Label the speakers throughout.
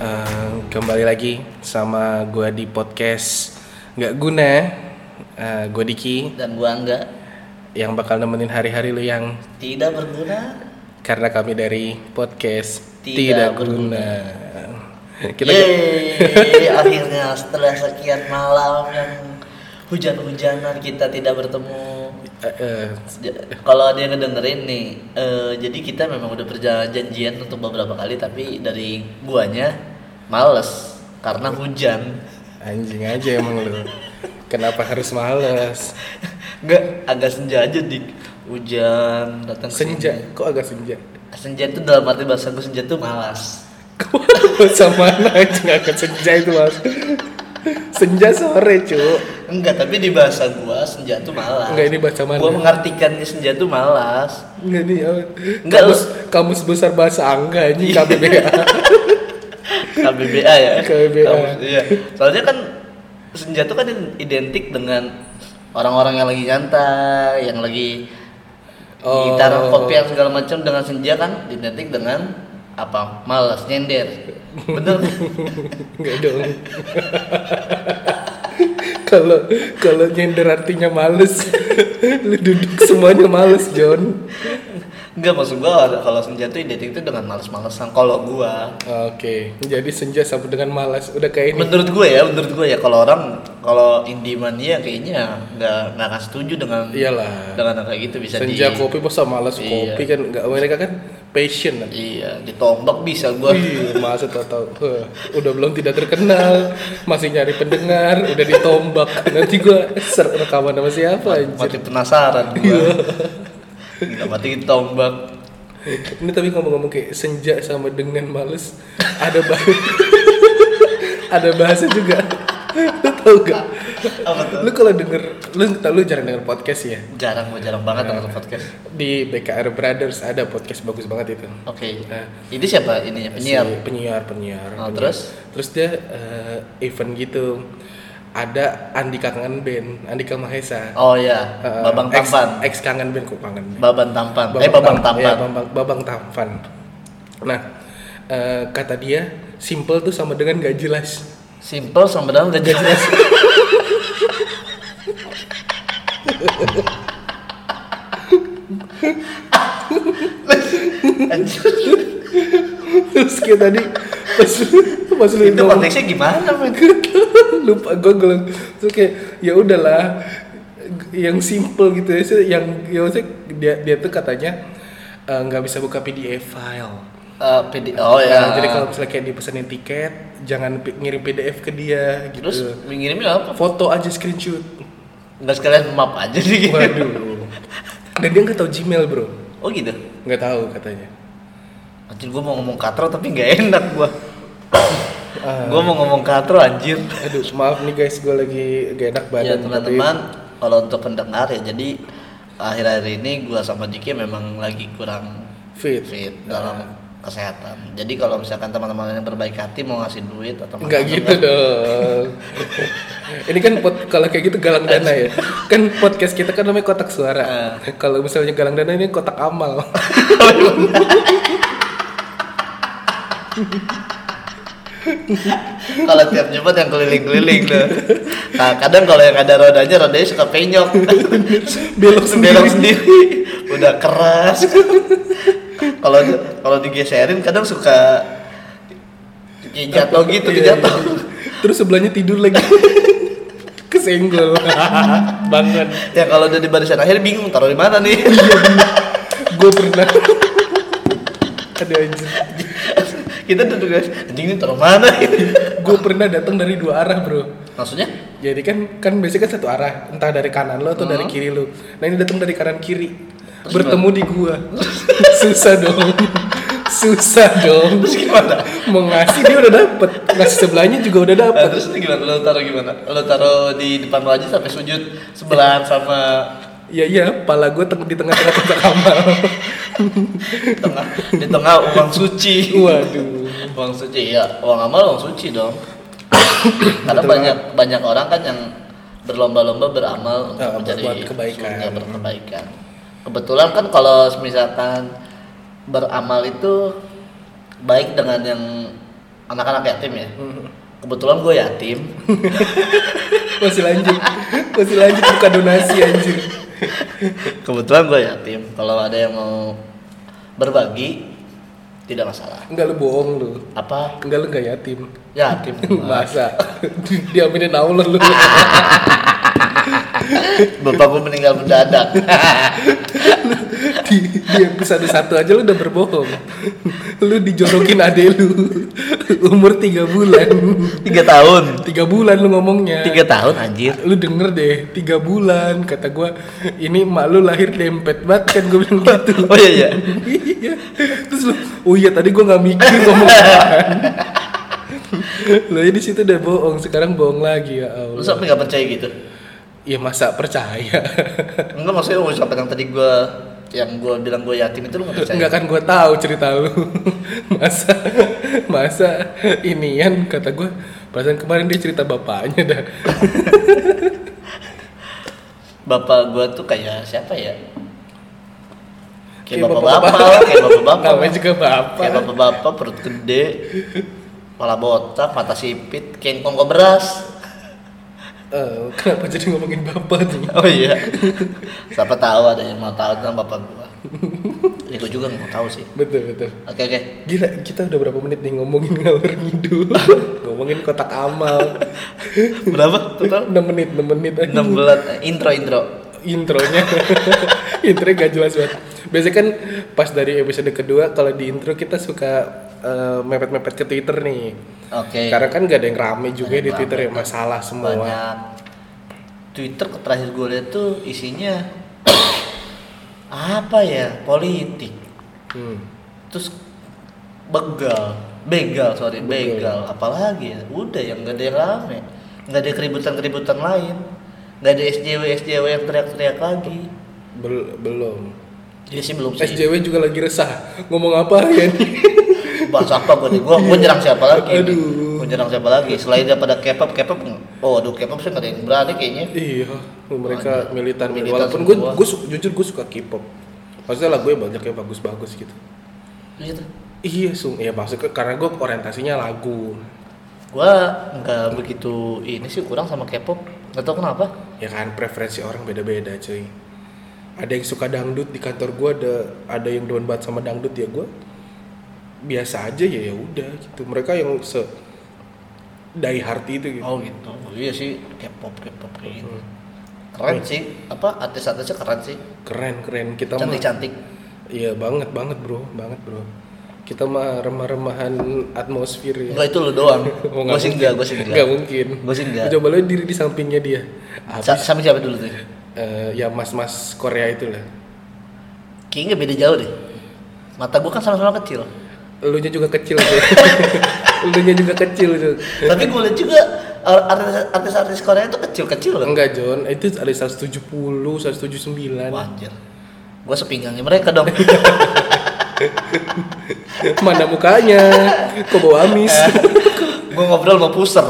Speaker 1: Eh, kembali lagi sama gua di podcast nggak guna. Eh, gua Diki
Speaker 2: dan gua enggak
Speaker 1: yang bakal nemenin hari-hari lu yang
Speaker 2: tidak berguna
Speaker 1: karena kami dari podcast
Speaker 2: Tidak
Speaker 1: tidak, guna. Kita
Speaker 2: Yeay, akhirnya setelah sekian malam yang hujan-hujanan kita tidak bertemu
Speaker 1: Eh, eh,
Speaker 2: Ja- kalau ada yang ngedengerin nih eh, jadi kita memang udah perjanjian untuk beberapa kali tapi dari guanya males karena hujan
Speaker 1: anjing aja emang lu. Kenapa harus males?
Speaker 2: enggak agak senja aja dik hujan datang ke
Speaker 1: Senja,
Speaker 2: sini.
Speaker 1: kok agak senja?
Speaker 2: senja itu dalam arti bahasa gue senja itu malas
Speaker 1: Kok sama anjing agak senja itu mas? Senja sore cu
Speaker 2: Enggak, tapi di bahasa gua senja tuh malas.
Speaker 1: Enggak, ini bahasa mana?
Speaker 2: Gua mengartikannya senja tuh malas.
Speaker 1: Enggak nih, apa?
Speaker 2: Nggak,
Speaker 1: kamus, kamus besar bahasa angga ini KBBA.
Speaker 2: KBBA ya.
Speaker 1: KBBA.
Speaker 2: Kamus- iya. Soalnya kan senja tuh kan identik dengan orang-orang yang lagi nyantai, yang lagi
Speaker 1: Oh.
Speaker 2: gitar, kopi yang segala macam dengan senja kan identik dengan apa? Malas, nyender. Bener.
Speaker 1: Enggak dong. Kalau kalau nyender artinya males. Lu duduk semuanya males, John.
Speaker 2: Enggak maksud gua kalau senja tuh identik tuh dengan malas-malasan kalau gua.
Speaker 1: Oke, jadi senja sama dengan malas. Udah kayak ini.
Speaker 2: menurut gue ya menurut gue ya kalau orang kalau indie mania kayaknya nggak nggak akan setuju dengan
Speaker 1: Iyalah.
Speaker 2: dengan kayak gitu bisa di
Speaker 1: Senja kopi masa malas
Speaker 2: Iya.
Speaker 1: kopi kan enggak mereka kan passion kan.
Speaker 2: iya ditombak bisa gue
Speaker 1: Wih, masa tau tau udah belum tidak terkenal masih nyari pendengar udah ditombak nanti gua ser- rekaman sama siapa anjir
Speaker 2: mati penasaran gue
Speaker 1: Iya.
Speaker 2: nggak mati ditombak
Speaker 1: Ini tapi ngomong-ngomong kayak senja sama dengan males ada bahasa ada bahasa juga. Lu tau gak?
Speaker 2: apa tuh
Speaker 1: Lu kalau denger lu tau lu jarang denger podcast ya?
Speaker 2: jarang gue jarang banget denger podcast
Speaker 1: Di BKR Brothers ada podcast bagus banget itu.
Speaker 2: oke
Speaker 1: Nah.
Speaker 2: ini siapa ininya
Speaker 1: Si
Speaker 2: penyiar
Speaker 1: penyiar, penyiar.
Speaker 2: Oh,
Speaker 1: penyiar.
Speaker 2: terus?
Speaker 1: Terus dia eh, event gitu. Ada Andika Kangen Band, Andika Mahesa.
Speaker 2: oh ya
Speaker 1: Eh,
Speaker 2: babang
Speaker 1: ex-
Speaker 2: tampan
Speaker 1: Ex, Kangen Band kok Kangen Band.
Speaker 2: babang tampan eh babang
Speaker 1: Tam- iya,
Speaker 2: tampan
Speaker 1: babang, babang tampan. Nah, eh, kata dia simple tuh sama dengan gak jelas.
Speaker 2: simple sama dalam gak jelas Anjir,
Speaker 1: Terus kayak tadi pas pas lu
Speaker 2: itu
Speaker 1: ngomong,
Speaker 2: konteksnya gimana men?
Speaker 1: lupa gue geleng. Terus kayak ya udahlah yang simple gitu ya, sih, yang ya maksudnya dia dia tuh katanya eh, nggak bisa buka PDF file.
Speaker 2: Eh, PD, oh
Speaker 1: Nah,
Speaker 2: ya.
Speaker 1: jadi kalau misalnya kayak dipesenin tiket, jangan pi- ngirim PDF ke dia gitu.
Speaker 2: terus mengirimnya apa?
Speaker 1: foto aja screenshot.
Speaker 2: Enggak sekalian map aja sih.
Speaker 1: Waduh. Dan dia nggak tahu Gmail bro.
Speaker 2: Oh gitu.
Speaker 1: Nggak tahu katanya.
Speaker 2: Anjir gua mau ngomong katro tapi nggak enak gua.
Speaker 1: Ah.
Speaker 2: gua mau ngomong katro anjir.
Speaker 1: Aduh, maaf nih guys, gue lagi gak enak
Speaker 2: Ya
Speaker 1: badan.
Speaker 2: teman-teman, kalau untuk pendengar ya jadi akhir-akhir ini gua sama Diki memang lagi kurang
Speaker 1: tapi fit.
Speaker 2: fit dalam kesehatan. Jadi kalau misalkan teman-teman yang berbaik hati mau ngasih duit atau
Speaker 1: Enggak
Speaker 2: makanan,
Speaker 1: gitu dong. Ini kan pod- kalau kayak gitu galang dana ya. Kan podcast kita kan namanya kotak
Speaker 2: Ah.
Speaker 1: suara. Kalau misalnya galang dana ini kotak amal.
Speaker 2: kalau tiap jumat yang keliling-keliling tuh. Nah, kadang kalau yang ada rodanya rodanya suka penyok.
Speaker 1: Belok sendiri.
Speaker 2: Belok sendiri. Udah keras. Kalau kalau digeserin kadang suka kayak jatuh gitu,
Speaker 1: Iya,
Speaker 2: jatuh.
Speaker 1: iya. Terus sebelahnya tidur lagi. Kesenggol. Banget.
Speaker 2: Ya kalau udah di barisan akhir bingung taruh di mana nih.
Speaker 1: Gue pernah. Aduh anjir.
Speaker 2: Kita duduk guys, anjing ini taruh mana ini?
Speaker 1: Gue pernah datang dari dua arah, Bro.
Speaker 2: Maksudnya?
Speaker 1: Jadi kan kan biasanya kan satu arah, entah dari kanan lo atau dari
Speaker 2: Hmm.
Speaker 1: kiri lo. Nah ini datang dari kanan kiri, bertemu di gua. Susah dong, susah dong.
Speaker 2: Terus gimana?
Speaker 1: Mau ngasih dia udah dapet, ngasih sebelahnya juga udah
Speaker 2: Nah,
Speaker 1: dapet.
Speaker 2: terus ini gimana? Lo taruh gimana? Lo taruh di depan lo aja sampai sujud sebelahan sama
Speaker 1: Ya iya, pala gua teng- di tengah-tengah kotak amal.
Speaker 2: di tengah di tengah uang suci.
Speaker 1: Waduh.
Speaker 2: Uang suci ya, uang amal uang suci dong. Karena banyak banyak orang kan yang berlomba-lomba beramal untuk
Speaker 1: Ya,
Speaker 2: menjadi
Speaker 1: berbuat kebaikan.
Speaker 2: surga, berkebaikan. Kebetulan kan kalau misalkan beramal itu baik dengan yang anak-anak yatim ya
Speaker 1: Hmm.
Speaker 2: kebetulan gue yatim
Speaker 1: masih lanjut masih lanjut buka donasi anjir
Speaker 2: kebetulan gue yatim kalau ada yang mau berbagi tidak masalah
Speaker 1: enggak lu bohong lu
Speaker 2: apa
Speaker 1: enggak lu enggak yatim
Speaker 2: yatim
Speaker 1: masa diaminin Allah lu
Speaker 2: bapakku meninggal mendadak
Speaker 1: di, di episode satu aja lu udah berbohong lu dijorokin adek lu umur 3 bulan
Speaker 2: tiga tahun
Speaker 1: 3 bulan lu ngomongnya
Speaker 2: tiga tahun anjir
Speaker 1: lu denger deh 3 bulan kata gua ini emak lu lahir dempet banget kan gua bilang gitu
Speaker 2: oh iya iya
Speaker 1: Iya. terus lu oh iya tadi gua nggak mikir ngomong apaan lo ya di situ udah bohong sekarang bohong lagi ya
Speaker 2: lu
Speaker 1: Allah
Speaker 2: sampai nggak percaya gitu
Speaker 1: ya masa percaya
Speaker 2: enggak maksudnya lu sampai yang tadi gue yang gue bilang gue yatim itu lu nggak percaya
Speaker 1: Enggak kan gue tahu cerita lu. masa masa inian kata gue perasaan kemarin dia cerita bapaknya dah.
Speaker 2: bapak gue tuh kayak siapa ya
Speaker 1: Kayak
Speaker 2: kayak bapak-bapak
Speaker 1: bapak-bapak.
Speaker 2: lah, kayak bapak-bapak
Speaker 1: Namanya juga bapak.
Speaker 2: kayak bapak-bapak perut gede kepala botak mata sipit kayak kongko beras
Speaker 1: Eh, kenapa jadi ngomongin bapak tuh?
Speaker 2: oh iya siapa tahu ada yang mau tahu tentang bapak gua ya gua juga nggak mau tahu sih
Speaker 1: Betul betul.
Speaker 2: oke oke
Speaker 1: Gila, kita udah berapa menit nih ngomongin ngalur ngidul. ngomongin kotak amal.
Speaker 2: berapa
Speaker 1: 6
Speaker 2: total
Speaker 1: menit, 6 menit aja.
Speaker 2: 16 intro intro
Speaker 1: intronya intronya gak jelas banget biasanya kan pas dari episode kedua kalau di intro kita suka eh, mepet-mepet ke twitter nih
Speaker 2: oke
Speaker 1: karena kan gak ada yang rame juga
Speaker 2: Iya. Ada yang
Speaker 1: di twitter
Speaker 2: rame.
Speaker 1: ya masalah semua
Speaker 2: banyak Twitter terakhir gue lihat tuh isinya apa ya politik
Speaker 1: Hmm.
Speaker 2: terus begal begal sorry begal apalagi ya udah yang gak ada yang rame nggak ada keributan keributan lain nggak ada SJW SJW yang teriak-teriak lagi
Speaker 1: Bel- belum
Speaker 2: jadi sih belum sih
Speaker 1: SJW juga lagi resah ngomong apa ya nih?
Speaker 2: bahas apa gue nih gue gue nyerang siapa lagi nih?
Speaker 1: Aduh.
Speaker 2: gue nyerang siapa lagi selain daripada K-pop K-pop nggak- oh aduh K-pop sih nggak ada yang berani kayaknya
Speaker 1: iya mereka
Speaker 2: Banyak.
Speaker 1: militan,
Speaker 2: Militan
Speaker 1: walaupun gue
Speaker 2: semua.
Speaker 1: gue su- jujur gue suka K-pop maksudnya lagunya banyak yang bagus-bagus gitu
Speaker 2: gitu
Speaker 1: iya sung ya maksudnya karena gue orientasinya lagu
Speaker 2: gua nggak begitu ini sih kurang sama K-pop nggak tahu kenapa
Speaker 1: ya kan preferensi orang beda-beda cuy ada yang suka dangdut di kantor gua ada ada yang doan banget sama dangdut ya gua biasa aja ya ya udah gitu mereka yang se dari hati itu gitu
Speaker 2: oh gitu iya sih K-pop K-pop kayak gitu keren sih apa artis-artisnya keren sih
Speaker 1: keren keren kita mah
Speaker 2: cantik-cantik
Speaker 1: iya banget banget bro banget bro kita mah remah-remahan atmosfer ya
Speaker 2: Enggak itu lu doang
Speaker 1: Oh,
Speaker 2: gue sih enggak gue sih
Speaker 1: nggak
Speaker 2: enggak
Speaker 1: mungkin
Speaker 2: Gua sih nggak.
Speaker 1: coba lu diri di sampingnya dia
Speaker 2: Sa-
Speaker 1: habis
Speaker 2: sama siapa dulu tuh
Speaker 1: eh, ya mas-mas Korea itu lah
Speaker 2: kayaknya beda jauh deh mata gua kan sama-sama kecil
Speaker 1: elunya juga kecil tuh elunya juga kecil tuh
Speaker 2: tapi gue lihat juga ar- artis- artis-artis Korea itu kecil-kecil loh
Speaker 1: enggak John itu ada 170 179
Speaker 2: Wah, anjir gue sepinggangnya mereka dong
Speaker 1: mana mukanya kok bau amis
Speaker 2: gue ngobrol mau puser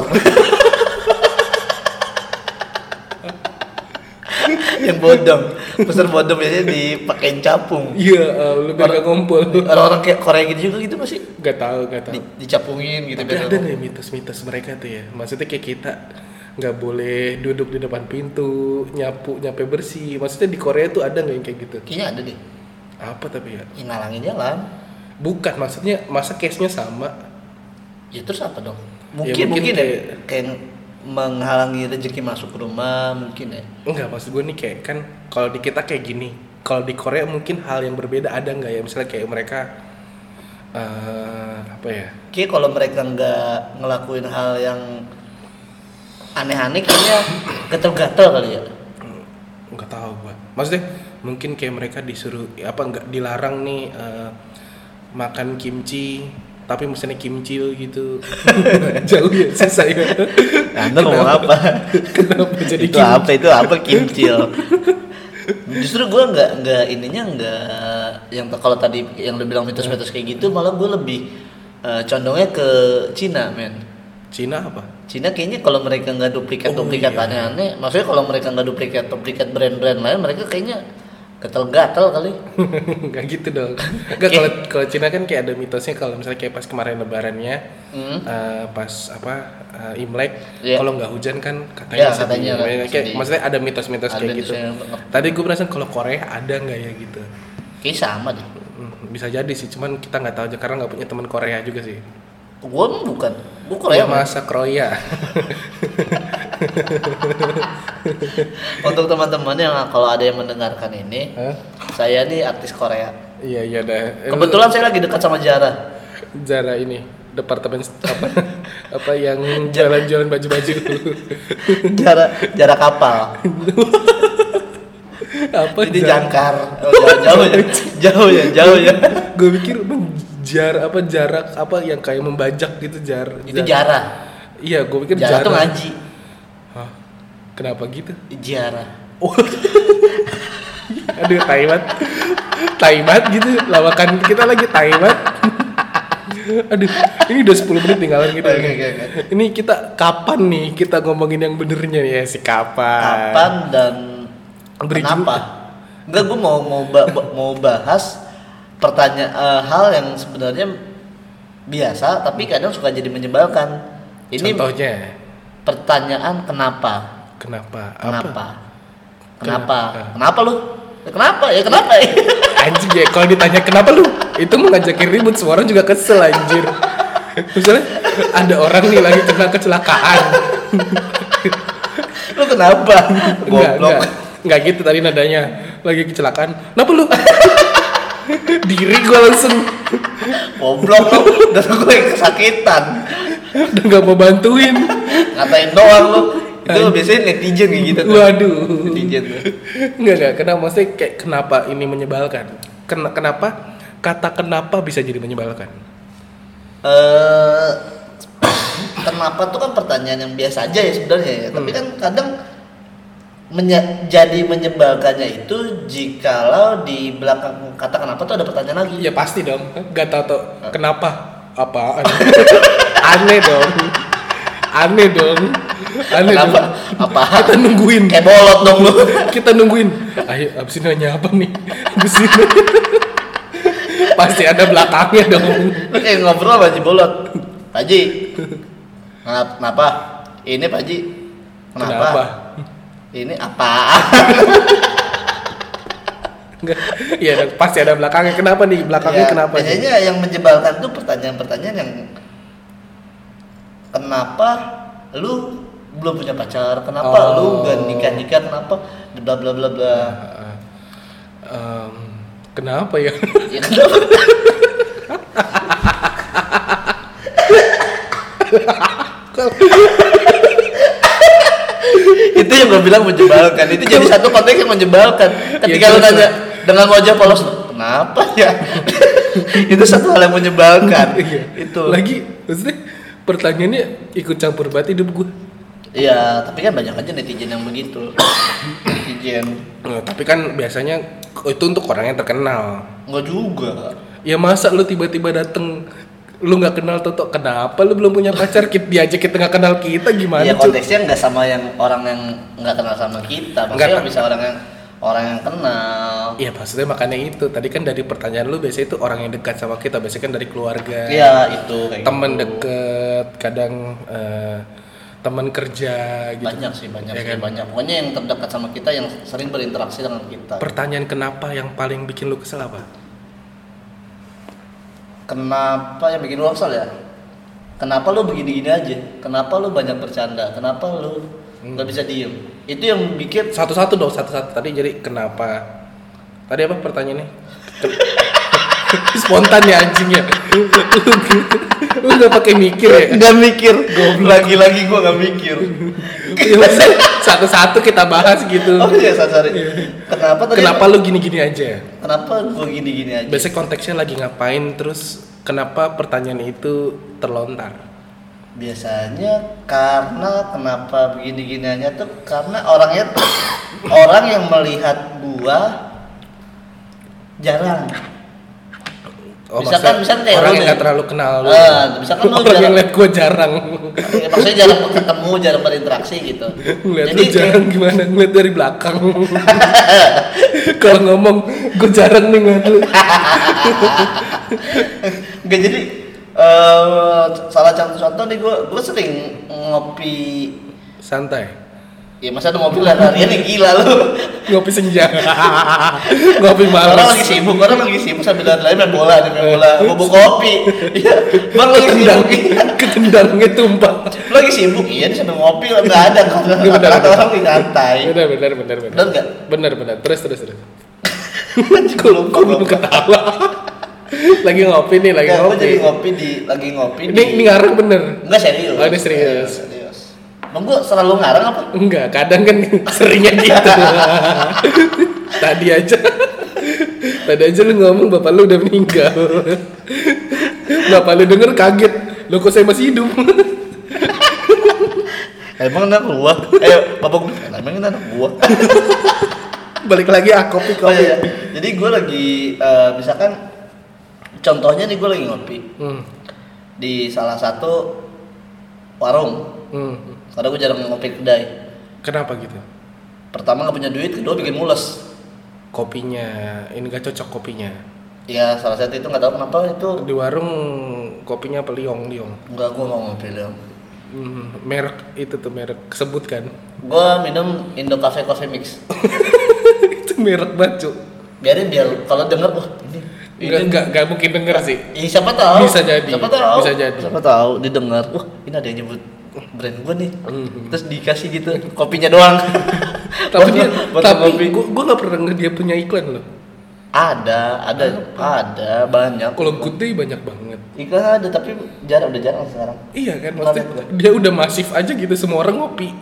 Speaker 2: yang bodong puser bodong biasanya dipakein capung
Speaker 1: iya eh, lu biar gak ngumpul
Speaker 2: orang-orang kayak Korea gitu juga gitu masih
Speaker 1: gak tahu gak tahu
Speaker 2: Di- dicapungin gitu
Speaker 1: tapi
Speaker 2: biar
Speaker 1: ada nih mitos-mitos mereka tuh ya maksudnya kayak kita nggak boleh duduk di depan pintu nyapu nyampe bersih maksudnya di Korea tuh ada nggak yang kayak gitu
Speaker 2: kayaknya ada deh
Speaker 1: apa tapi ya
Speaker 2: yang nalangin jalan
Speaker 1: bukan maksudnya masa case nya sama
Speaker 2: ya terus apa dong mungkin
Speaker 1: Ya, mungkin
Speaker 2: mungkin, ya
Speaker 1: kayak-
Speaker 2: kayak menghalangi rezeki masuk ke rumah mungkin ya
Speaker 1: Enggak, maksud gue nih kayak kan kalau di kita kayak gini, kalau di Korea mungkin hal yang berbeda ada nggak ya? Misalnya kayak mereka eh apa ya?
Speaker 2: kayak kalau mereka nggak ngelakuin hal yang aneh-aneh kayaknya gatel-gatel kali ya
Speaker 1: Enggak tahu gue. Maksudnya mungkin kayak mereka disuruh ya apa enggak dilarang nih eh, makan kimchi tapi misalnya kimcil gitu jauh ya susah ya
Speaker 2: Anda mau
Speaker 1: Kenapa-
Speaker 2: apa?
Speaker 1: kenapa jadi
Speaker 2: itu
Speaker 1: kimchi
Speaker 2: apa itu apa kimcil justru gue nggak nggak ininya nggak yang kalau tadi yang lu bilang mitos-mitos kayak gitu malah gue lebih eh, condongnya ke Cina men
Speaker 1: Cina apa
Speaker 2: Cina kayaknya kalau mereka nggak duplikat duplikat
Speaker 1: Oh, iya.
Speaker 2: aneh-aneh maksudnya kalau mereka nggak duplikat duplikat brand-brand lain mereka kayaknya Gatel-gatel kali.
Speaker 1: nggak gitu dong nggak
Speaker 2: Eh.
Speaker 1: kalau kalau Cina kan kayak ada mitosnya kalau misalnya kayak pas kemarin lebarannya
Speaker 2: Hmm.
Speaker 1: eh, pas apa eh, Imlek
Speaker 2: Iya.
Speaker 1: kalau nggak hujan kan katanya
Speaker 2: Iya,
Speaker 1: sedih.
Speaker 2: katanya kan
Speaker 1: Kayak- kayak-
Speaker 2: sedih.
Speaker 1: maksudnya ada mitos-mitos
Speaker 2: Ada
Speaker 1: kayak gitu
Speaker 2: mitos yang nge-
Speaker 1: tadi gue penasaran kalau Korea ada nggak ya gitu
Speaker 2: Kayaknya sama deh.
Speaker 1: Hmm, bisa jadi sih cuman kita nggak tahu aja karena nggak punya teman Korea juga sih
Speaker 2: Gua mah bukan. Gua
Speaker 1: Korea
Speaker 2: Korea mas.
Speaker 1: masa Korea
Speaker 2: Untuk teman-teman yang kalau ada yang mendengarkan ini,
Speaker 1: Hah?
Speaker 2: saya nih artis Korea.
Speaker 1: iya iya dah Eh,
Speaker 2: Kebetulan saya lagi dekat sama Jara.
Speaker 1: Zara ini departemen st- apa apa yang jalan-jalan baju-baju
Speaker 2: Jara Jara kapal.
Speaker 1: apa
Speaker 2: Jadi jangkar. Oh, jauh, jauh ya. Jauh ya, jauh ya.
Speaker 1: gue pikir bang, jar apa jarak apa yang kayak membajak gitu jar
Speaker 2: Itu Jara.
Speaker 1: iya gue pikir
Speaker 2: Jara tuh ngaji.
Speaker 1: Hah? kenapa gitu
Speaker 2: Jara.
Speaker 1: oh aduh Taiwan Taiwan gitu lawakan kita lagi Taiwan aduh ini udah 10 menit tinggalan gitu
Speaker 2: Oke, oke, oke.
Speaker 1: ini kita kapan nih kita ngomongin yang benernya nih? ya si kapan
Speaker 2: Kapan dan
Speaker 1: Beri
Speaker 2: kenapa? Enggak, gue mau mau ba- ba- mau bahas pertanyaan hal yang sebenarnya biasa tapi kadang suka jadi menyebalkan. Ini
Speaker 1: contohnya
Speaker 2: pertanyaan kenapa?
Speaker 1: kenapa
Speaker 2: Kenapa?
Speaker 1: Kenapa? Eh.
Speaker 2: Kenapa? Kenapa lu? Ya, kenapa? Ya kenapa?
Speaker 1: Anjing ya kalau ditanya kenapa lu itu mau ngajakin ribut semua orang juga kesel anjir. Misalnya ada orang nih lagi kena kecelakaan.
Speaker 2: lu kenapa?
Speaker 1: Enggak,
Speaker 2: Goblok.
Speaker 1: enggak. Enggak gitu tadi nadanya. Lagi kecelakaan. Kenapa lu? Diri gua langsung
Speaker 2: Goblok lu. Dan gue yang kesakitan.
Speaker 1: udah gak mau bantuin.
Speaker 2: Ngatain doang lu. Itu biasanya netizen kayak gitu tuh.
Speaker 1: Waduh.
Speaker 2: Netizen tuh.
Speaker 1: Enggak enggak kenapa maksudnya kayak kenapa ini menyebalkan? Ken- kenapa kata kenapa bisa jadi menyebalkan?
Speaker 2: Eh, kenapa tuh kan pertanyaan yang biasa aja ya sebenarnya ya.
Speaker 1: Hmm.
Speaker 2: Tapi kan kadang menye- jadi menyebalkannya itu jikalau di belakang kata kenapa tuh ada pertanyaan lagi.
Speaker 1: Ya pasti dong. Gak tau tau kenapa? Apaan? Aneh dong. Aneh dong. Aneh
Speaker 2: Kenapa?
Speaker 1: dong.
Speaker 2: Apa?
Speaker 1: Kita nungguin.
Speaker 2: Kayak bolot dong lu.
Speaker 1: Kita nungguin. Ayo abis ini nanya apa nih? Abis ini. pasti ada belakangnya dong.
Speaker 2: Lu kayak Eh, ngobrol sama Haji Bolot. Pak Ji, kenapa? kenapa? Ini Pak Ji, kenapa? Ini apa?
Speaker 1: Enggak. Iya, dong, pasti ada belakangnya. Kenapa nih? Belakangnya
Speaker 2: Ya,
Speaker 1: kenapa? nih?
Speaker 2: Biasanya yang menjebalkan tuh pertanyaan-pertanyaan yang kenapa lu belum punya pacar, kenapa
Speaker 1: Oh.
Speaker 2: lu gak nikah nikah, kenapa bla bla bla bla.
Speaker 1: Heeh. Eh, Em, kenapa ya?
Speaker 2: Ya kenapa? itu yang gue bilang menjebalkan itu jadi satu konteks yang menjebalkan ketika
Speaker 1: Iya,
Speaker 2: lu
Speaker 1: jelas,
Speaker 2: nanya dengan wajah polos kenapa ya itu satu hal yang menjebalkan
Speaker 1: Iya.
Speaker 2: itu
Speaker 1: Lagi maksudnya pertanyaannya ikut campur banget hidup gue.
Speaker 2: iya tapi kan banyak aja netizen yang begitu netizen
Speaker 1: Nah, tapi kan biasanya itu untuk orang yang terkenal.
Speaker 2: nggak juga
Speaker 1: Ya masa lu tiba-tiba dateng lu nggak kenal Toto kenapa lu belum punya pacar kita diajak kita nggak kenal kita gimana
Speaker 2: Iya
Speaker 1: cuy?
Speaker 2: konteksnya nggak sama yang orang yang nggak kenal sama kita, maksudnya
Speaker 1: Nggak- kan?
Speaker 2: bisa orang yang orang yang kenal.
Speaker 1: Iya maksudnya makanya itu tadi kan dari pertanyaan lu biasanya itu orang yang dekat sama kita biasanya kan dari keluarga
Speaker 2: Iya itu kayak
Speaker 1: temen
Speaker 2: gitu.
Speaker 1: deket kadang eh, temen kerja gitu
Speaker 2: Banyak sih banyak
Speaker 1: Iya
Speaker 2: sih
Speaker 1: kan?
Speaker 2: banyak. Pokoknya yang terdekat sama kita yang sering berinteraksi dengan kita.
Speaker 1: pertanyaan kenapa yang paling bikin lu kesel apa
Speaker 2: Kenapa yang bikin lu kesel ya? Kenapa lu begini-gini aja? Kenapa lu banyak bercanda? Kenapa lu
Speaker 1: Hmm.
Speaker 2: nggak bisa diem? Itu yang bikin
Speaker 1: satu-satu dong satu-satu tadi jadi kenapa tadi apa pertanyaannya spontan ya anjingnya lu nggak pakai mikir ya
Speaker 2: nggak mikir. Lagi-lagi gua nggak mikir.
Speaker 1: Ya, maksudnya satu-satu kita bahas gitu
Speaker 2: Oh iya, sorry. Kenapa Oh, tadi?
Speaker 1: kenapa lu gini-gini aja
Speaker 2: Kenapa gua gini-gini aja?
Speaker 1: biasanya konteksnya lagi ngapain terus kenapa pertanyaan itu terlontar
Speaker 2: biasanya karena kenapa begini giniannya tuh karena orangnya tuh orang yang melihat gua jarang
Speaker 1: Oh,
Speaker 2: Misalkan-
Speaker 1: maksudnya
Speaker 2: misalkan kayak
Speaker 1: orang
Speaker 2: lu
Speaker 1: yang
Speaker 2: nih.
Speaker 1: nggak terlalu kenal lu.
Speaker 2: Ah, misalkan lu
Speaker 1: orang yang
Speaker 2: jarang-
Speaker 1: liat gue jarang.
Speaker 2: Ya, maksudnya jarang ketemu, jarang berinteraksi gitu.
Speaker 1: Ngeliat
Speaker 2: Jadi
Speaker 1: lu jarang gimana? Ngeliat dari belakang. Kalau ngomong gue jarang nih ngeliat lu.
Speaker 2: Nggak, jadi eh, salah satu contoh nih gue gue sering ngopi
Speaker 1: Santai.
Speaker 2: ya masa ada ngopi lah harian nih gila lu
Speaker 1: Ngopi senja. Ngopi
Speaker 2: orang
Speaker 1: malam.
Speaker 2: lagi sibuk orang lagi sibuk sambil lari-lari main bola dia main bola bobo kopi iya bang lagi
Speaker 1: Ketendang,
Speaker 2: sibuk iya.
Speaker 1: ketendangnya tumpah.
Speaker 2: Lu lagi sibuk iya dia sambil ngopi lah nggak ada kan
Speaker 1: Nggak benar,
Speaker 2: ada
Speaker 1: benar.
Speaker 2: orang di lantai
Speaker 1: Bener bener bener bener.
Speaker 2: bener nggak
Speaker 1: Bener bener. Terus terus terus.
Speaker 2: gue lupa
Speaker 1: Kok
Speaker 2: gua
Speaker 1: belum ketawa? lagi ngopi nih, lagi
Speaker 2: Nggak, gua
Speaker 1: ngopi.
Speaker 2: jadi ngopi di lagi ngopi
Speaker 1: Ini ini ngarang bener.
Speaker 2: Enggak serius.
Speaker 1: Oh, ini serius.
Speaker 2: Iya, serius. Emang gua selalu ngarang apa?
Speaker 1: Enggak, kadang kan seringnya gitu. Tadi aja. Tadi aja lu ngomong bapak lu udah meninggal. bapak lu denger kaget. Lo kok saya masih hidup?
Speaker 2: Emang anak gua. Eh, bapak gua. Emang ini anak gua.
Speaker 1: Balik lagi ah kopi
Speaker 2: Oh,
Speaker 1: kopi.
Speaker 2: iya, iya. Jadi gua lagi eh, misalkan contohnya nih gua lagi ngopi
Speaker 1: Hmm.
Speaker 2: di salah satu warung.
Speaker 1: Hmm.
Speaker 2: Karena gua jarang ngopi kedai.
Speaker 1: Kenapa gitu?
Speaker 2: Pertama nggak punya duit, kedua bikin mules.
Speaker 1: Kopinya ini gak cocok kopinya.
Speaker 2: Ya salah satu itu nggak tahu kenapa itu
Speaker 1: Di warung kopinya apa liong liong.
Speaker 2: nggak gua nggak ngopi Leon.
Speaker 1: Hmm, merek itu tuh merek kan. sebutkan.
Speaker 2: Gua minum Indo Cafe Coffee Mix.
Speaker 1: itu merek banget, Cuk.
Speaker 2: Biarin biar kalau denger wah ini
Speaker 1: Enggak, enggak, enggak mungkin denger sih.
Speaker 2: Ih, siapa tahu?
Speaker 1: Bisa jadi,
Speaker 2: Siapa tahu?
Speaker 1: bisa jadi.
Speaker 2: Siapa tahu didengar. Wah, ini ada yang nyebut brand gue nih.
Speaker 1: Mhm.
Speaker 2: Terus dikasih gitu kopinya doang.
Speaker 1: Tapi
Speaker 2: Botol-
Speaker 1: dia,
Speaker 2: botol kopi.
Speaker 1: tapi gua, gua gak pernah denger dia punya iklan loh.
Speaker 2: ada, ada, ada banyak.
Speaker 1: Kalau Good Day banyak banget.
Speaker 2: Iklan ada tapi jarang udah jarang sekarang.
Speaker 1: Iya kan, maksudnya dia udah masif aja gitu semua orang ngopi.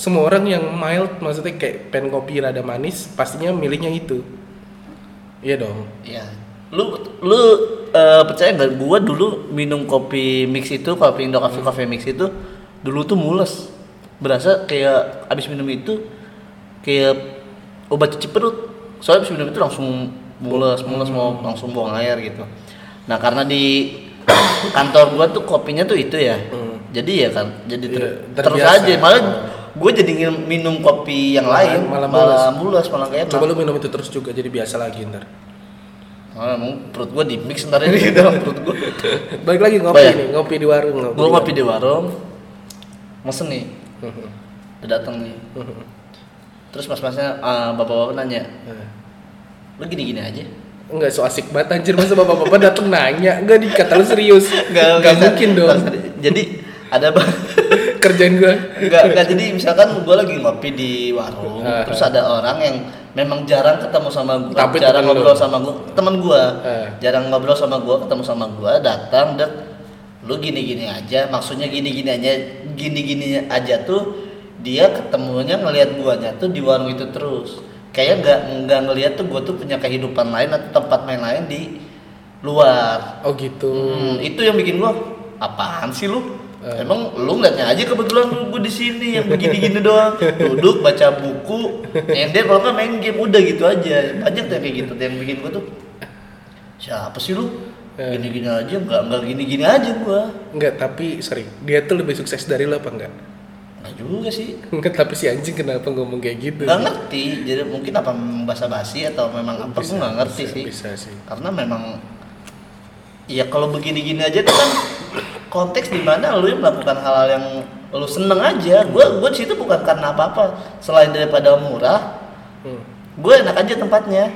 Speaker 1: Semua orang yang mild maksudnya kayak pen kopi rada manis pastinya milihnya itu. Iya dong.
Speaker 2: Iya. Lu lu eh, percaya nggak gua dulu minum kopi mix itu, kopi Indo Coffee
Speaker 1: Hmm.
Speaker 2: Coffee Mix itu dulu tuh mules. Berasa kayak abis minum itu kayak obat cuci perut. Soalnya abis minum itu langsung mules, mules mau
Speaker 1: Hmm.
Speaker 2: langsung buang air gitu. Nah, karena di kantor gua tuh kopinya tuh itu ya.
Speaker 1: Hmm.
Speaker 2: Jadi ya kan, jadi ter-
Speaker 1: Iya,
Speaker 2: terus
Speaker 1: terbiasa.
Speaker 2: aja malah gue jadi ngin- minum kopi yang
Speaker 1: Malah-
Speaker 2: lain
Speaker 1: malah
Speaker 2: malah, mules malah kayak
Speaker 1: Coba lu minum itu terus juga jadi biasa lagi ntar.
Speaker 2: Ah, emang perut gua di mix ntar ini gitu perut gua.
Speaker 1: Balik lagi ngopi
Speaker 2: Baik.
Speaker 1: nih, ngopi di warung. Oh, iya. Hmm, Ngopi
Speaker 2: Gua
Speaker 1: di
Speaker 2: ngopi di warung. Mesen nih,
Speaker 1: warung.
Speaker 2: udah datang nih.
Speaker 1: hmm,
Speaker 2: Terus mas-masnya ah, bapak-bapak nanya, "Lu gini-gini aja?"
Speaker 1: Eh, Enggak so asik banget anjir masa bapak-bapak dateng nanya enggak dikata lu serius. Enggak, mungkin dong.
Speaker 2: Jadi ada bang
Speaker 1: Kerjaan gua.
Speaker 2: Enggak, enggak jadi misalkan gua lagi ngopi di warung,
Speaker 1: Ah.
Speaker 2: terus ada orang yang memang jarang ketemu sama gua,
Speaker 1: Tapi
Speaker 2: jarang
Speaker 1: temen lu.
Speaker 2: ngobrol sama gua, teman gua.
Speaker 1: Ah.
Speaker 2: Jarang ngobrol sama gua, ketemu sama gua, datang dek lu gini-gini aja, maksudnya gini-gini aja, gini-gini aja tuh dia ketemunya ngelihat guanya tuh di warung itu terus. Kayaknya nggak nggak ngelihat tuh gua tuh punya kehidupan lain atau tempat main lain di luar.
Speaker 1: Oh gitu.
Speaker 2: Hmm, itu yang bikin gua apaan sih lu?
Speaker 1: Eh.
Speaker 2: Emang lu ngeliatnya aja kebetulan lu gua di sini yang begini-gini doang. Duduk baca buku, nyender kalau nggak main game udah gitu aja. Banyak tuh yang kayak gitu tuh yang bikin gua tuh. Siapa sih lu?
Speaker 1: Eh.
Speaker 2: Gini-gini aja nggak nggak gini-gini aja gua.
Speaker 1: Enggak, tapi sering. Dia tuh lebih sukses dari lo apa enggak?
Speaker 2: Nggak juga sih.
Speaker 1: Enggak, tapi si anjing kenapa ngomong kayak gitu?
Speaker 2: Nggak ngerti. Jadi mungkin apa bahasa basi atau memang apa gua nggak ngerti
Speaker 1: bisa,
Speaker 2: sih.
Speaker 1: Bisa sih.
Speaker 2: Karena memang ya kalau begini-gini aja tuh kan konteks di mana lu yang melakukan hal-hal yang lu seneng aja. Gua gua di situ bukan karena apa-apa selain daripada murah,
Speaker 1: Hmm.
Speaker 2: gue enak aja tempatnya.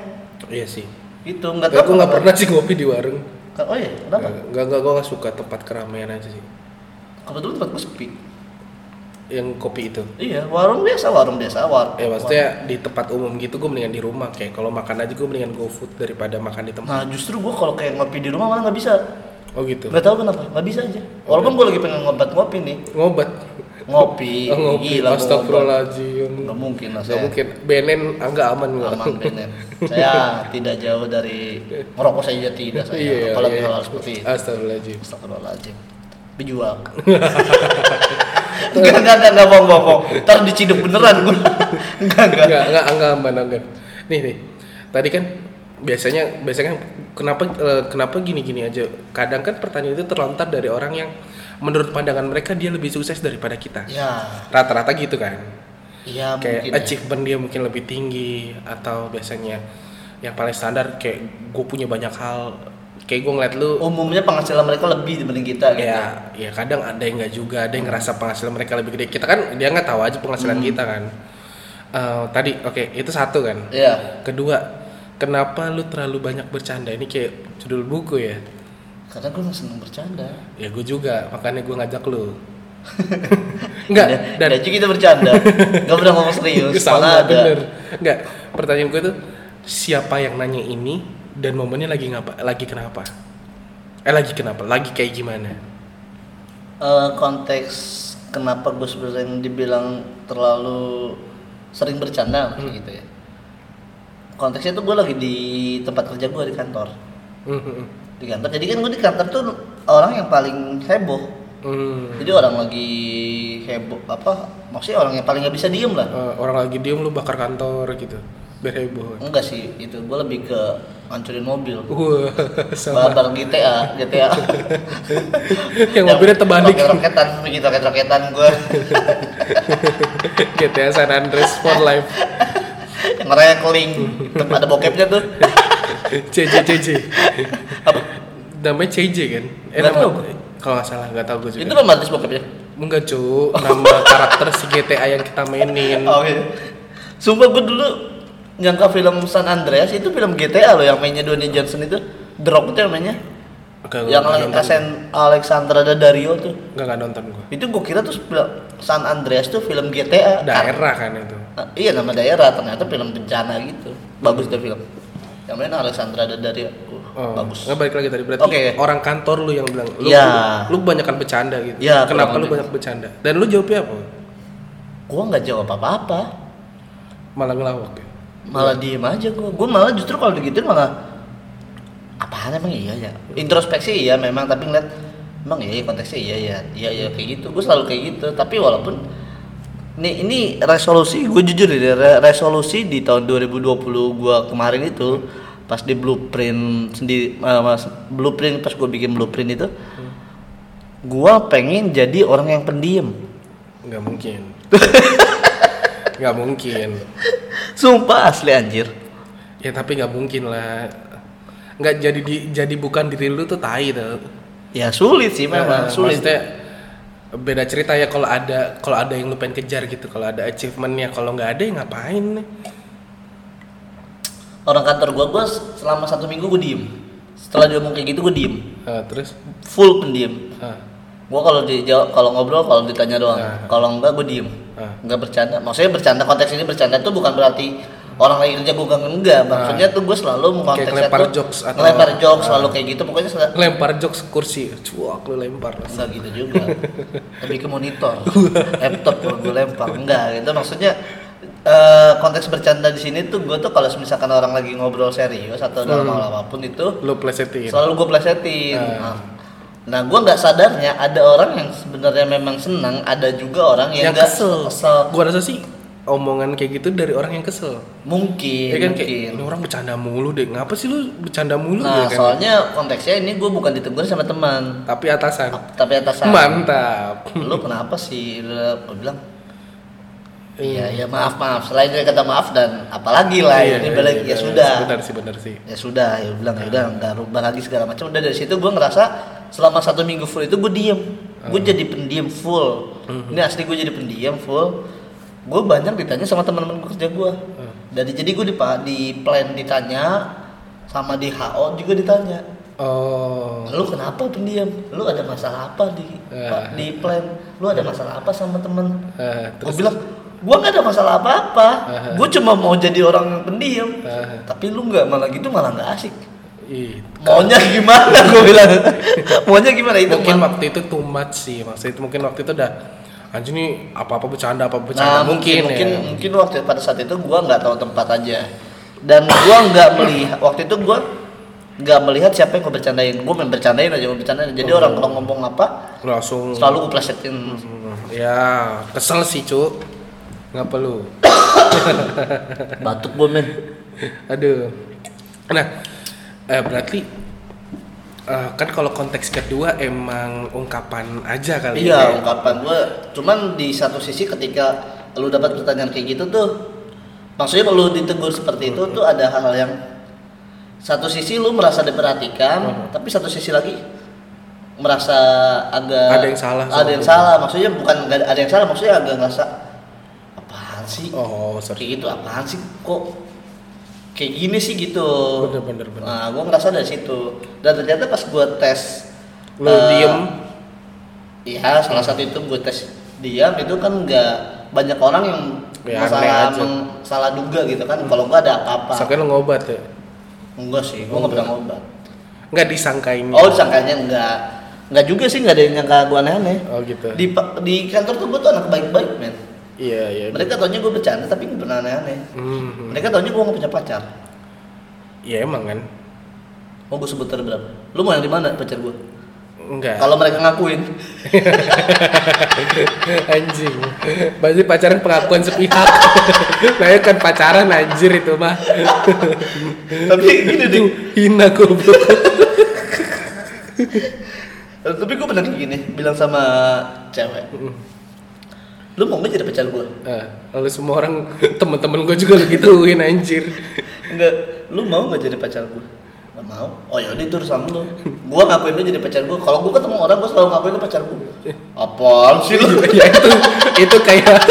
Speaker 1: Iya sih.
Speaker 2: Gitu, enggak
Speaker 1: Enggak,
Speaker 2: tahu.
Speaker 1: gue nggak
Speaker 2: kenapa.
Speaker 1: pernah sih ngopi di warung.
Speaker 2: Oh iya, kenapa?
Speaker 1: Enggak, enggak, enggak, gue nggak suka tempat keramaian aja sih.
Speaker 2: Kebetulan tempat gue sepi.
Speaker 1: Yang kopi itu.
Speaker 2: Iya, warung biasa, warung biasa, warung.
Speaker 1: Ya maksudnya di tempat umum gitu gue mendingan di rumah kayak kalau makan aja gue mendingan go food daripada makan di tempat.
Speaker 2: Nah, justru gue kalau kayak ngopi di rumah malah nggak bisa.
Speaker 1: Oh gitu.
Speaker 2: Nggak tahu kenapa, nggak bisa aja. Walaupun gue lagi pengen ngobat ngopi nih,
Speaker 1: Ngobat.
Speaker 2: ngopi,
Speaker 1: Oh, ngopi.
Speaker 2: gila, gua iya, ngobat.
Speaker 1: Astagfirullahaladzim.
Speaker 2: Nggak mungkin lah
Speaker 1: Gak
Speaker 2: saya.
Speaker 1: mungkin. Benen agak aman gua.
Speaker 2: aman Benen. Saya tidak jauh dari merokok saya juga tidak saya.
Speaker 1: Iya,
Speaker 2: apalagi hal seperti itu.
Speaker 1: Astagfirullahaladzim.
Speaker 2: Astagfirullahaladzim. Dijual. Enggak, enggak, enggak, enggak, bohong, bohong, bohong. Ntar diciduk beneran gue. Enggak, enggak.
Speaker 1: enggak enggak enggak aman enggak nih nih tadi kan biasanya biasanya kan kenapa eh, kenapa gini-gini aja kadang kan pertanyaan itu terlontar dari orang yang menurut pandangan mereka dia lebih sukses daripada kita
Speaker 2: ya
Speaker 1: rata-rata gitu kan
Speaker 2: ya
Speaker 1: kayak
Speaker 2: mungkin ya.
Speaker 1: achievement dia mungkin lebih tinggi atau biasanya yang paling standar kayak gue punya banyak hal kayak gue ngeliat lu
Speaker 2: umumnya penghasilan mereka lebih dibanding kita gitu
Speaker 1: ya ya kadang ada yang nggak juga ada yang ngerasa penghasilan mereka lebih gede kita kan dia nggak tahu aja penghasilan
Speaker 2: Hmm.
Speaker 1: kita kan Eh, tadi oke itu satu kan
Speaker 2: ya
Speaker 1: kedua kenapa lu terlalu banyak bercanda ini kayak judul buku ya
Speaker 2: karena gue nggak seneng bercanda
Speaker 1: ya gue juga makanya gue ngajak lu nggak
Speaker 2: Ada-
Speaker 1: dan
Speaker 2: ada juga kita bercanda nggak pernah ngomong serius
Speaker 1: Sama,
Speaker 2: malah ada
Speaker 1: bener. Enggak, pertanyaan gue tuh siapa yang nanya ini dan momennya lagi ngapa? Lagi kenapa? Eh lagi kenapa? Lagi kayak gimana?
Speaker 2: Eh, konteks kenapa gue sebenarnya yang dibilang terlalu
Speaker 1: Hmm.
Speaker 2: sering bercanda maksudnya gitu ya konteksnya tuh gue lagi di tempat kerja gue di kantor
Speaker 1: Hmm,
Speaker 2: di kantor jadi kan gue di kantor tuh orang yang paling heboh
Speaker 1: hmm.
Speaker 2: jadi orang lagi heboh apa maksudnya orang yang paling nggak bisa diem lah
Speaker 1: Eh, orang lagi diem lu bakar kantor gitu. Biar heboh.
Speaker 2: enggak sih itu gue lebih ke hancurin mobil
Speaker 1: Wah, sama.
Speaker 2: barang GTA GTA
Speaker 1: Yang mobilnya terbalik.
Speaker 2: roketan begitu roket roketan gue
Speaker 1: GTA San Andreas for life.
Speaker 2: yang rekeling Tem- ada bokepnya tuh
Speaker 1: CJ CJ.
Speaker 2: Apa?
Speaker 1: Namanya CJ kan? Eh,
Speaker 2: Nggak
Speaker 1: nama-
Speaker 2: tahu.
Speaker 1: Kalau nggak salah nggak tahu gue
Speaker 2: itu
Speaker 1: Iya juga.
Speaker 2: nama artis bokepnya
Speaker 1: Enggak cu, nama karakter si GTA yang kita mainin.
Speaker 2: oh iya sumpah gue dulu nyangka film San Andreas itu film GTA loh yang mainnya Dwayne Johnson itu The Rock itu yang mainnya
Speaker 1: Nggak,
Speaker 2: yang
Speaker 1: nggak
Speaker 2: lain
Speaker 1: nonton.
Speaker 2: Asen Alexandra Daddario tuh
Speaker 1: Enggak nggak nonton gue.
Speaker 2: itu gue kira tuh film- San Andreas tuh film GTA
Speaker 1: Daerah kan itu.
Speaker 2: Ah, iya nama daerah ternyata film bencana gitu bagus tuh film yang main Alexandra Daddario
Speaker 1: Oh,
Speaker 2: Uh, bagus
Speaker 1: Nggak balik lagi tadi berarti
Speaker 2: Oke.
Speaker 1: orang kantor lu yang bilang lu
Speaker 2: Iya.
Speaker 1: lu, lu kebanyakan bercanda gitu. Kenapa
Speaker 2: Iya, kurang
Speaker 1: lu
Speaker 2: lebih.
Speaker 1: banyak bercanda? Dan lu jawabnya apa?
Speaker 2: gua nggak jawab apa-apa
Speaker 1: Malah ngelawak ya.
Speaker 2: malah diem aja gua gua malah justru kalau digituin malah apaan emang iya ya introspeksi iya memang tapi ngeliat emang iya ya, konteksnya iya ya iya iya kayak gitu gua selalu kayak gitu tapi walaupun ini ini resolusi gue jujur ya re- resolusi di tahun 2020 gua kemarin itu pas di blueprint sendiri eh, mas blueprint pas gue bikin blueprint itu gua pengen jadi orang yang pendiam
Speaker 1: Nggak mungkin. nggak mungkin.
Speaker 2: sumpah asli anjir
Speaker 1: Ya tapi nggak mungkin lah. Nggak jadi di, jadi bukan diri lu tuh tai tuh.
Speaker 2: ya sulit sih
Speaker 1: Nah,
Speaker 2: memang sulit ya.
Speaker 1: maksudnya beda cerita ya kalau ada kalau ada yang lu pengen kejar gitu kalau ada achievementnya kalau nggak ada ya ngapain
Speaker 2: orang kantor gua gua selama satu minggu gua diem setelah dia ngomong kayak gitu gua diem
Speaker 1: Ah, terus
Speaker 2: full pendiam
Speaker 1: ah,
Speaker 2: gua kalau dijawab kalau ngobrol kalau ditanya doang
Speaker 1: Ah.
Speaker 2: kalau enggak gua diem
Speaker 1: Ah.
Speaker 2: enggak bercanda maksudnya bercanda konteks ini bercanda tuh bukan berarti orang lagi kerja gua enggak enggak maksudnya tuh gua selalu mengkonteksnya
Speaker 1: Nah. ngelempar
Speaker 2: tuh,
Speaker 1: jokes atau- Nah.
Speaker 2: ngelempar jokes selalu kayak gitu pokoknya sel-
Speaker 1: lempar jokes ke kursi cuak lu lempar
Speaker 2: enggak gitu juga lebih ke monitor laptop kalau gue lempar enggak gitu maksudnya eh, konteks bercanda di sini tuh gue tuh kalau misalkan orang lagi ngobrol serius atau dalam
Speaker 1: Hmm.
Speaker 2: hal apapun itu
Speaker 1: lu plesetin
Speaker 2: selalu gue plesetin
Speaker 1: Ah.
Speaker 2: nah gue nggak sadarnya ada orang yang sebenarnya memang senang ada juga orang yang,
Speaker 1: yang
Speaker 2: nggak
Speaker 1: kesel.
Speaker 2: kesel.
Speaker 1: Gua rasa sih omongan kayak gitu dari orang yang kesel.
Speaker 2: mungkin
Speaker 1: Ya kan
Speaker 2: Iya, mungkin
Speaker 1: kayak "Ini orang bercanda mulu deh. Ngapa sih lu bercanda mulu ya
Speaker 2: nah
Speaker 1: kan?
Speaker 2: soalnya konteksnya ini gue bukan ditegur sama teman
Speaker 1: Tapi atasan.
Speaker 2: tapi atas
Speaker 1: Mantap.
Speaker 2: lu kenapa sih lu gua bilang Iya, ya maaf maaf. Selain dari kata maaf dan apalagi lah
Speaker 1: Iya,
Speaker 2: ini balik
Speaker 1: iya,
Speaker 2: ya sudah.
Speaker 1: Benar sih, benar sih.
Speaker 2: ya sudah ya bilang ya udah nggak rubah lagi segala macam udah dari situ gue ngerasa selama satu minggu full itu gue diem
Speaker 1: Ah.
Speaker 2: gue jadi pendiam full
Speaker 1: Mhm.
Speaker 2: ini asli gue jadi pendiam full gue banyak ditanya sama teman-teman kerja gue
Speaker 1: Ah.
Speaker 2: dari jadi gue di di plan ditanya sama di HO juga ditanya
Speaker 1: Oh.
Speaker 2: lu kenapa pendiam lu ada masalah apa di
Speaker 1: Ah.
Speaker 2: di plan lu ada masalah apa sama temen
Speaker 1: Eh,
Speaker 2: gue
Speaker 1: terus Ah.
Speaker 2: bilang gue nggak ada masalah apa-apa
Speaker 1: Aha.
Speaker 2: gue cuma mau jadi orang yang pendiam
Speaker 1: Aha.
Speaker 2: tapi lu nggak malah gitu malah nggak asik
Speaker 1: Ih,
Speaker 2: maunya gimana gue bilang maunya gimana itu
Speaker 1: mungkin
Speaker 2: Mal-
Speaker 1: waktu itu too much sih. Maksudnya itu mungkin waktu itu udah anjing nih apa-apa bercanda, apa bercanda mungkin,
Speaker 2: nah, Ah, mungkin
Speaker 1: ya.
Speaker 2: mungkin waktu pada saat itu gua nggak tahu tempat aja dan gua nggak melihat waktu itu gua nggak melihat siapa yang gue bercandain gue main bercandain aja gue bercandain
Speaker 1: Oh.
Speaker 2: jadi orang kalau ngomong apa
Speaker 1: Langsung
Speaker 2: selalu gue plesetin
Speaker 1: Hmm, ya kesel sih, Cuk. Nggak perlu.
Speaker 2: batuk gue men
Speaker 1: Aduh. Nah, eh, berarti eh, kan kalau konteks kedua emang ungkapan aja kali
Speaker 2: iya
Speaker 1: ya.
Speaker 2: ungkapan gue cuman di satu sisi ketika lu dapat pertanyaan kayak gitu tuh maksudnya kalau lu ditegur seperti itu tuh ada hal-hal yang satu sisi lu merasa diperhatikan
Speaker 1: Mhm.
Speaker 2: tapi satu sisi lagi merasa agak
Speaker 1: Ada yang salah sama
Speaker 2: ada yang
Speaker 1: lu.
Speaker 2: salah maksudnya bukan nggak ada yang salah maksudnya agak ngerasa apaan sih
Speaker 1: Oh, sorry.
Speaker 2: kayak gitu apaan sih kok kayak gini sih gitu
Speaker 1: Bener bener bener.
Speaker 2: nah gue ngerasa dari situ dan ternyata pas gue tes
Speaker 1: Lu
Speaker 2: eh,
Speaker 1: diem.
Speaker 2: Iya, salah satu itu gue tes diam itu kan nggak banyak orang yang
Speaker 1: Ya, aneh
Speaker 2: salah
Speaker 1: aja.
Speaker 2: meng- salah duga gitu kan. Kalau gue ada apa-apa,
Speaker 1: Sakit lo ngobat ya.
Speaker 2: enggak sih, gue nggak pernah ngobat.
Speaker 1: Nggak disangkainnya.
Speaker 2: Oh, disangkanya enggak, enggak juga sih, enggak ada yang nyangka gue aneh-aneh.
Speaker 1: Oh, gitu.
Speaker 2: Di pa- di kantor tuh gue tuh anak baik-baik men.
Speaker 1: Iya iya.
Speaker 2: Mereka taunya gue bercanda tapi nggak pernah aneh-aneh.
Speaker 1: Hmm.
Speaker 2: Mereka taunya gue nggak punya pacar.
Speaker 1: Iya emang kan.
Speaker 2: Mau gue sebut berapa? Lu mau yang di mana pacar gue?
Speaker 1: Enggak.
Speaker 2: Kalau mereka ngakuin,
Speaker 1: anjing. Berarti pacaran pengakuan sepihak. Nah, kan pacaran anjir itu mah.
Speaker 2: tapi gini deh.
Speaker 1: Itu hina goblok.
Speaker 2: Tapi gue pernah kayak gini, bilang sama cewek,
Speaker 1: Hmm.
Speaker 2: lu mau nggak jadi pacar gue?
Speaker 1: Eh, lalu semua orang temen-temen gue juga begituin anjir.
Speaker 2: Enggak, lu mau nggak jadi pacar gue? Gak mau. Oh yaudah itu urusan lu. Gua ngakuin lu jadi pacar gua. Kalau gua ketemu orang gua selalu ngakuin lu pacar gua. Apaan sih lu?
Speaker 1: ya itu itu kayak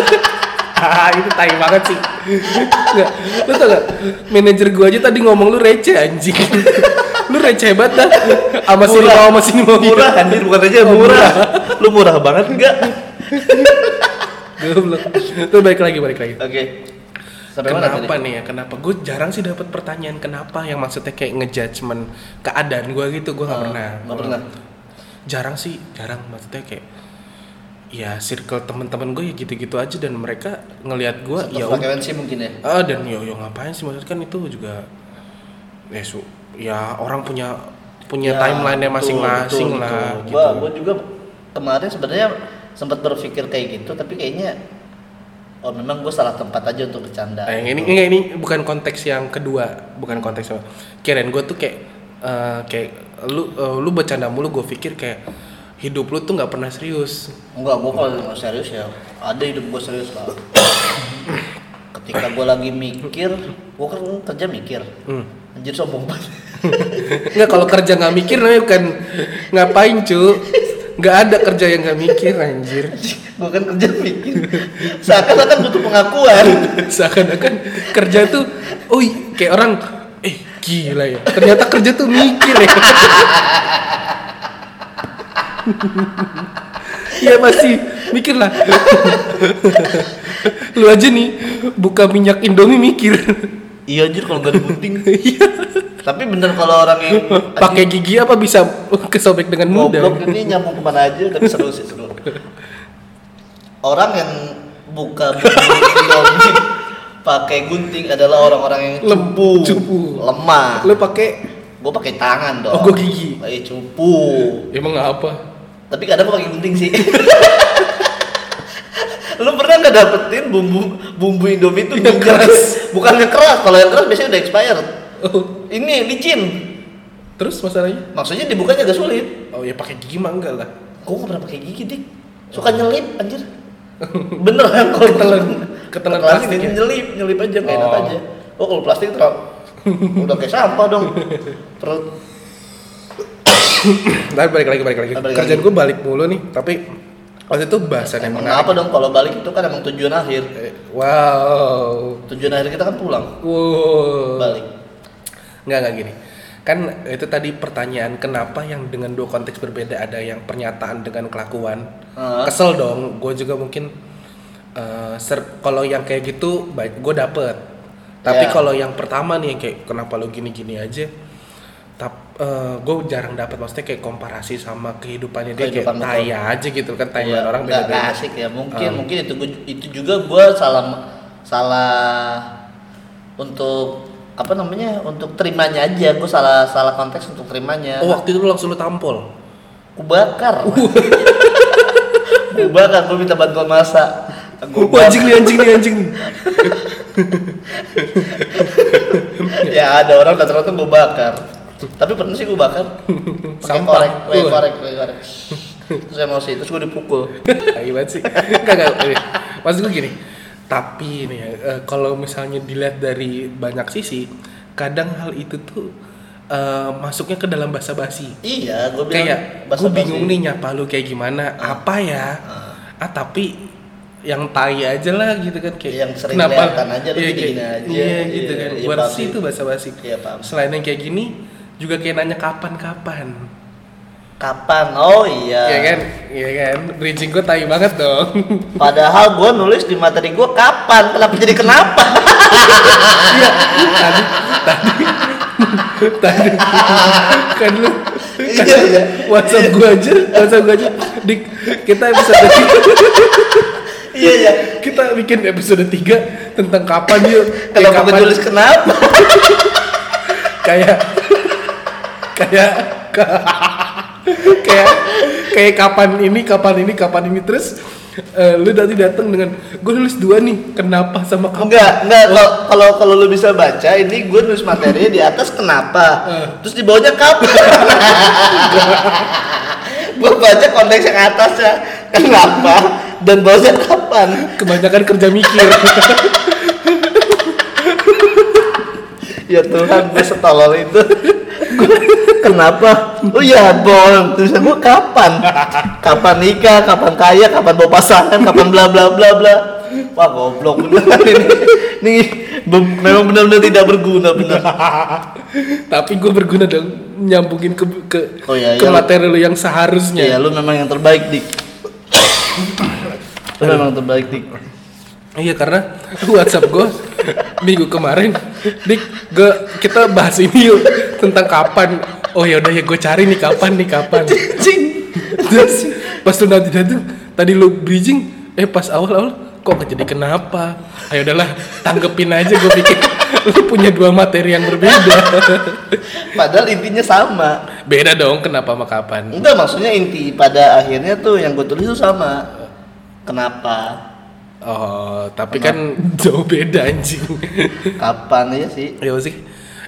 Speaker 1: Ah, itu tai banget sih. Nggak, lu tau gak? Manajer gue aja tadi ngomong lu receh anjing. lu receh banget dah. Sama sini
Speaker 2: Murah.
Speaker 1: mau sama sini mau.
Speaker 2: Murah anjir bukan aja
Speaker 1: Oh,
Speaker 2: murah. Lu murah banget enggak?
Speaker 1: Goblok. Tuh balik lagi, balik lagi.
Speaker 2: Oke. Sampai mana
Speaker 1: kenapa
Speaker 2: tadi?
Speaker 1: nih ya? Kenapa? Gue jarang sih dapat pertanyaan kenapa yang maksudnya kayak ngejudgement keadaan gue gitu. Gue nggak
Speaker 2: Ah,
Speaker 1: pernah.
Speaker 2: nggak pernah.
Speaker 1: Jarang sih, jarang maksudnya kayak ya circle teman-teman gue ya gitu-gitu aja dan mereka ngelihat gue
Speaker 2: Satu
Speaker 1: ya
Speaker 2: frekuensi mungkin ya.
Speaker 1: ah dan yo yo ngapain sih maksudnya kan itu juga ya su ya orang punya punya
Speaker 2: Ya,
Speaker 1: timeline nya
Speaker 2: betul,
Speaker 1: masing-masing
Speaker 2: betul,
Speaker 1: lah
Speaker 2: betul.
Speaker 1: gitu.
Speaker 2: Gua gua juga kemarin sebenarnya sempat berpikir kayak gitu tapi kayaknya oh memang gua salah tempat aja untuk bercanda.
Speaker 1: Nah, yang ini enggak ini bukan konteks yang kedua, bukan konteks yang kirain gue tuh kayak eh, kayak lu eh, lu bercanda mulu gue pikir kayak hidup lu tuh nggak pernah serius.
Speaker 2: Enggak, gue kalau mau serius ya ada hidup gue serius lah. Ketika gue lagi mikir, gue kan kerja mikir.
Speaker 1: Hmm.
Speaker 2: Anjir sombong banget.
Speaker 1: Enggak kalau kerja nggak mikir namanya bukan ngapain cu nggak ada kerja yang nggak mikir anjir
Speaker 2: gue kan kerja mikir. Seakan-akan butuh pengakuan.
Speaker 1: seakan-akan kerja tuh oh kayak orang eh gila ya ternyata kerja tuh mikir ya ya masih mikir lah lu aja nih buka minyak indomie mikir
Speaker 2: Iya anjir kalau gak digunting. Iya. Tapi bener kalau orang yang
Speaker 1: pakai gigi apa bisa kesobek dengan mudah
Speaker 2: goblok ini nyambung kemana aja tapi seru sih seru. Orang yang buka bumi pakai gunting adalah orang-orang yang
Speaker 1: Lem-
Speaker 2: cupu,
Speaker 1: cupu.
Speaker 2: lemah.
Speaker 1: lu pakai
Speaker 2: gue pakai tangan dong.
Speaker 1: Oh, gua gigi.
Speaker 2: Eh cupu.
Speaker 1: emang apa
Speaker 2: Tapi kadang gua pakai gunting sih. lu pernah nggak dapetin bumbu bumbu indomie itu
Speaker 1: Yang
Speaker 2: bumbu-
Speaker 1: keras.
Speaker 2: bukan yang keras kalau yang keras biasanya udah expired
Speaker 1: oh,
Speaker 2: ini licin
Speaker 1: terus masalahnya
Speaker 2: maksudnya dibukanya agak sulit
Speaker 1: oh ya pakai gigi mah enggak lah
Speaker 2: gua nggak pernah pakai gigi dik suka nyelip anjir beneran kalau kan
Speaker 1: Ketelan- ketelan
Speaker 2: ketelan
Speaker 1: plastik
Speaker 2: ini
Speaker 1: ya?
Speaker 2: nyelip nyelip aja kayak enak
Speaker 1: Oh.
Speaker 2: aja oh kalau plastik terlalu udah kayak sampah dong perut
Speaker 1: Tapi balik lagi, balik lagi.
Speaker 2: Ah, balik
Speaker 1: Kerjaan
Speaker 2: lagi.
Speaker 1: gue balik mulu nih, tapi waktu itu bahasan yang menarik.
Speaker 2: kenapa dong kalau balik itu kan emang tujuan akhir
Speaker 1: Eh, Wow.
Speaker 2: tujuan akhir kita kan pulang
Speaker 1: Wow.
Speaker 2: balik
Speaker 1: Nggak, nggak gini. Kan itu tadi pertanyaan kenapa yang dengan dua konteks berbeda ada yang pernyataan dengan kelakuan.
Speaker 2: Heeh.
Speaker 1: Kesel dong, gue juga mungkin eh, ser- kalau yang kayak gitu baik gue dapet. Tapi
Speaker 2: Ya.
Speaker 1: kalau yang pertama nih yang kayak kenapa lo gini-gini aja tap gue jarang dapat maksudnya kayak komparasi sama kehidupannya dia kayak
Speaker 2: Kehidupan betul.
Speaker 1: taya aja gitu kan tanya
Speaker 2: Iya,
Speaker 1: orang
Speaker 2: nggak- nggak
Speaker 1: beda-beda
Speaker 2: asik ya mungkin
Speaker 1: Ah.
Speaker 2: mungkin itu gu- itu juga gue salah salah untuk apa namanya untuk terimanya aja gue salah salah konteks untuk terimanya
Speaker 1: oh waktu itu lu langsung lu tampol
Speaker 2: Ku bakar Ku bakar gue minta bantuan masa Gua
Speaker 1: Wah, anjing nih anjing nih anjing nih
Speaker 2: bakar. ya ada orang datang datang gue bakar tapi pernah sih gue bakar pakai
Speaker 1: Sampah.
Speaker 2: korek pakai
Speaker 1: Wah.
Speaker 2: korek pakai korek terus emosi terus gue dipukul
Speaker 1: Tai banget sih. Enggak enggak. ini. Maksud gue gini. Tapi ini ya, eh, kalau misalnya dilihat dari banyak sisi, kadang hal itu tuh eh, masuknya ke dalam bahasa basi.
Speaker 2: iya gue bilang
Speaker 1: Kayak gue
Speaker 2: basa-basi.
Speaker 1: bingung nih nyapa lu kayak gimana, apa ya? Ah
Speaker 2: Ah.
Speaker 1: tapi yang tai aja lah gitu kan kayak
Speaker 2: Yang sering kelihatan aja lu
Speaker 1: Iya,
Speaker 2: gini-gini
Speaker 1: kayak-
Speaker 2: aja.
Speaker 1: Iya
Speaker 2: Iya,
Speaker 1: gitu kan.
Speaker 2: iya,
Speaker 1: Buat
Speaker 2: paham
Speaker 1: sih
Speaker 2: sih.
Speaker 1: itu bahasa basi.
Speaker 2: iya paham
Speaker 1: Selain yang kayak gini juga kayak nanya kapan-kapan.
Speaker 2: kapan oh iya
Speaker 1: Iya kan? Iya kan? Bridging gue tai banget dong.
Speaker 2: padahal gue nulis di materi gue kapan kenapa jadi kenapa Iya,
Speaker 1: tadi tadi tadi kan lu kan
Speaker 2: Iya, iya.
Speaker 1: WhatsApp gua aja WhatsApp gua aja Dik kita episode
Speaker 2: iya iya
Speaker 1: 3 kita bikin episode 3 tentang kapan yuk Ya,
Speaker 2: kenapa gue tulis kenapa
Speaker 1: kayak kayak ka- kayak kayak kapan ini kapan ini kapan ini terus eh, lu nanti datang dengan gue nulis dua nih kenapa sama kapan
Speaker 2: Enggak, enggak kalau kalau kalau lu bisa baca ini gue nulis materinya di atas kenapa?
Speaker 1: Eh.
Speaker 2: Terus di bawahnya kapan? gue baca konteks yang atasnya kenapa dan bawahnya kapan?
Speaker 1: kebanyakan kerja mikir
Speaker 2: Ya Tuhan, gue setolol itu. Gua- kenapa? Oh iya, Bon. Tulisan gue kapan? Kapan nikah, kapan kaya, kapan bawa pasangan, kapan bla bla bla bla. Wah, goblok beneran ini. Ini be- memang benar-benar tidak berguna bener.
Speaker 1: Tapi gue berguna dong nyambungin ke ke,
Speaker 2: Oh iya,
Speaker 1: ke
Speaker 2: iya.
Speaker 1: materi lu yang seharusnya.
Speaker 2: Iya, lu memang yang terbaik, Dik. lu memang terbaik, Dik.
Speaker 1: Iya, karena WhatsApp gue minggu kemarin, dik, gue kita bahas ini yuk tentang kapan. Oh ya udah ya gue cari nih kapan nih kapan.
Speaker 2: Cing.
Speaker 1: Terus pas lu nanti datang, tadi lu bridging, eh pas awal-awal kok jadi kenapa? Ayo udahlah tanggepin aja gue pikir lu punya dua materi yang berbeda.
Speaker 2: Padahal intinya sama.
Speaker 1: Beda dong kenapa sama kapan?
Speaker 2: Enggak, maksudnya inti pada akhirnya tuh yang gue tulis tuh sama. Kenapa?
Speaker 1: Oh, tapi kan jauh beda anjing.
Speaker 2: Kapan ya sih?
Speaker 1: ya sih.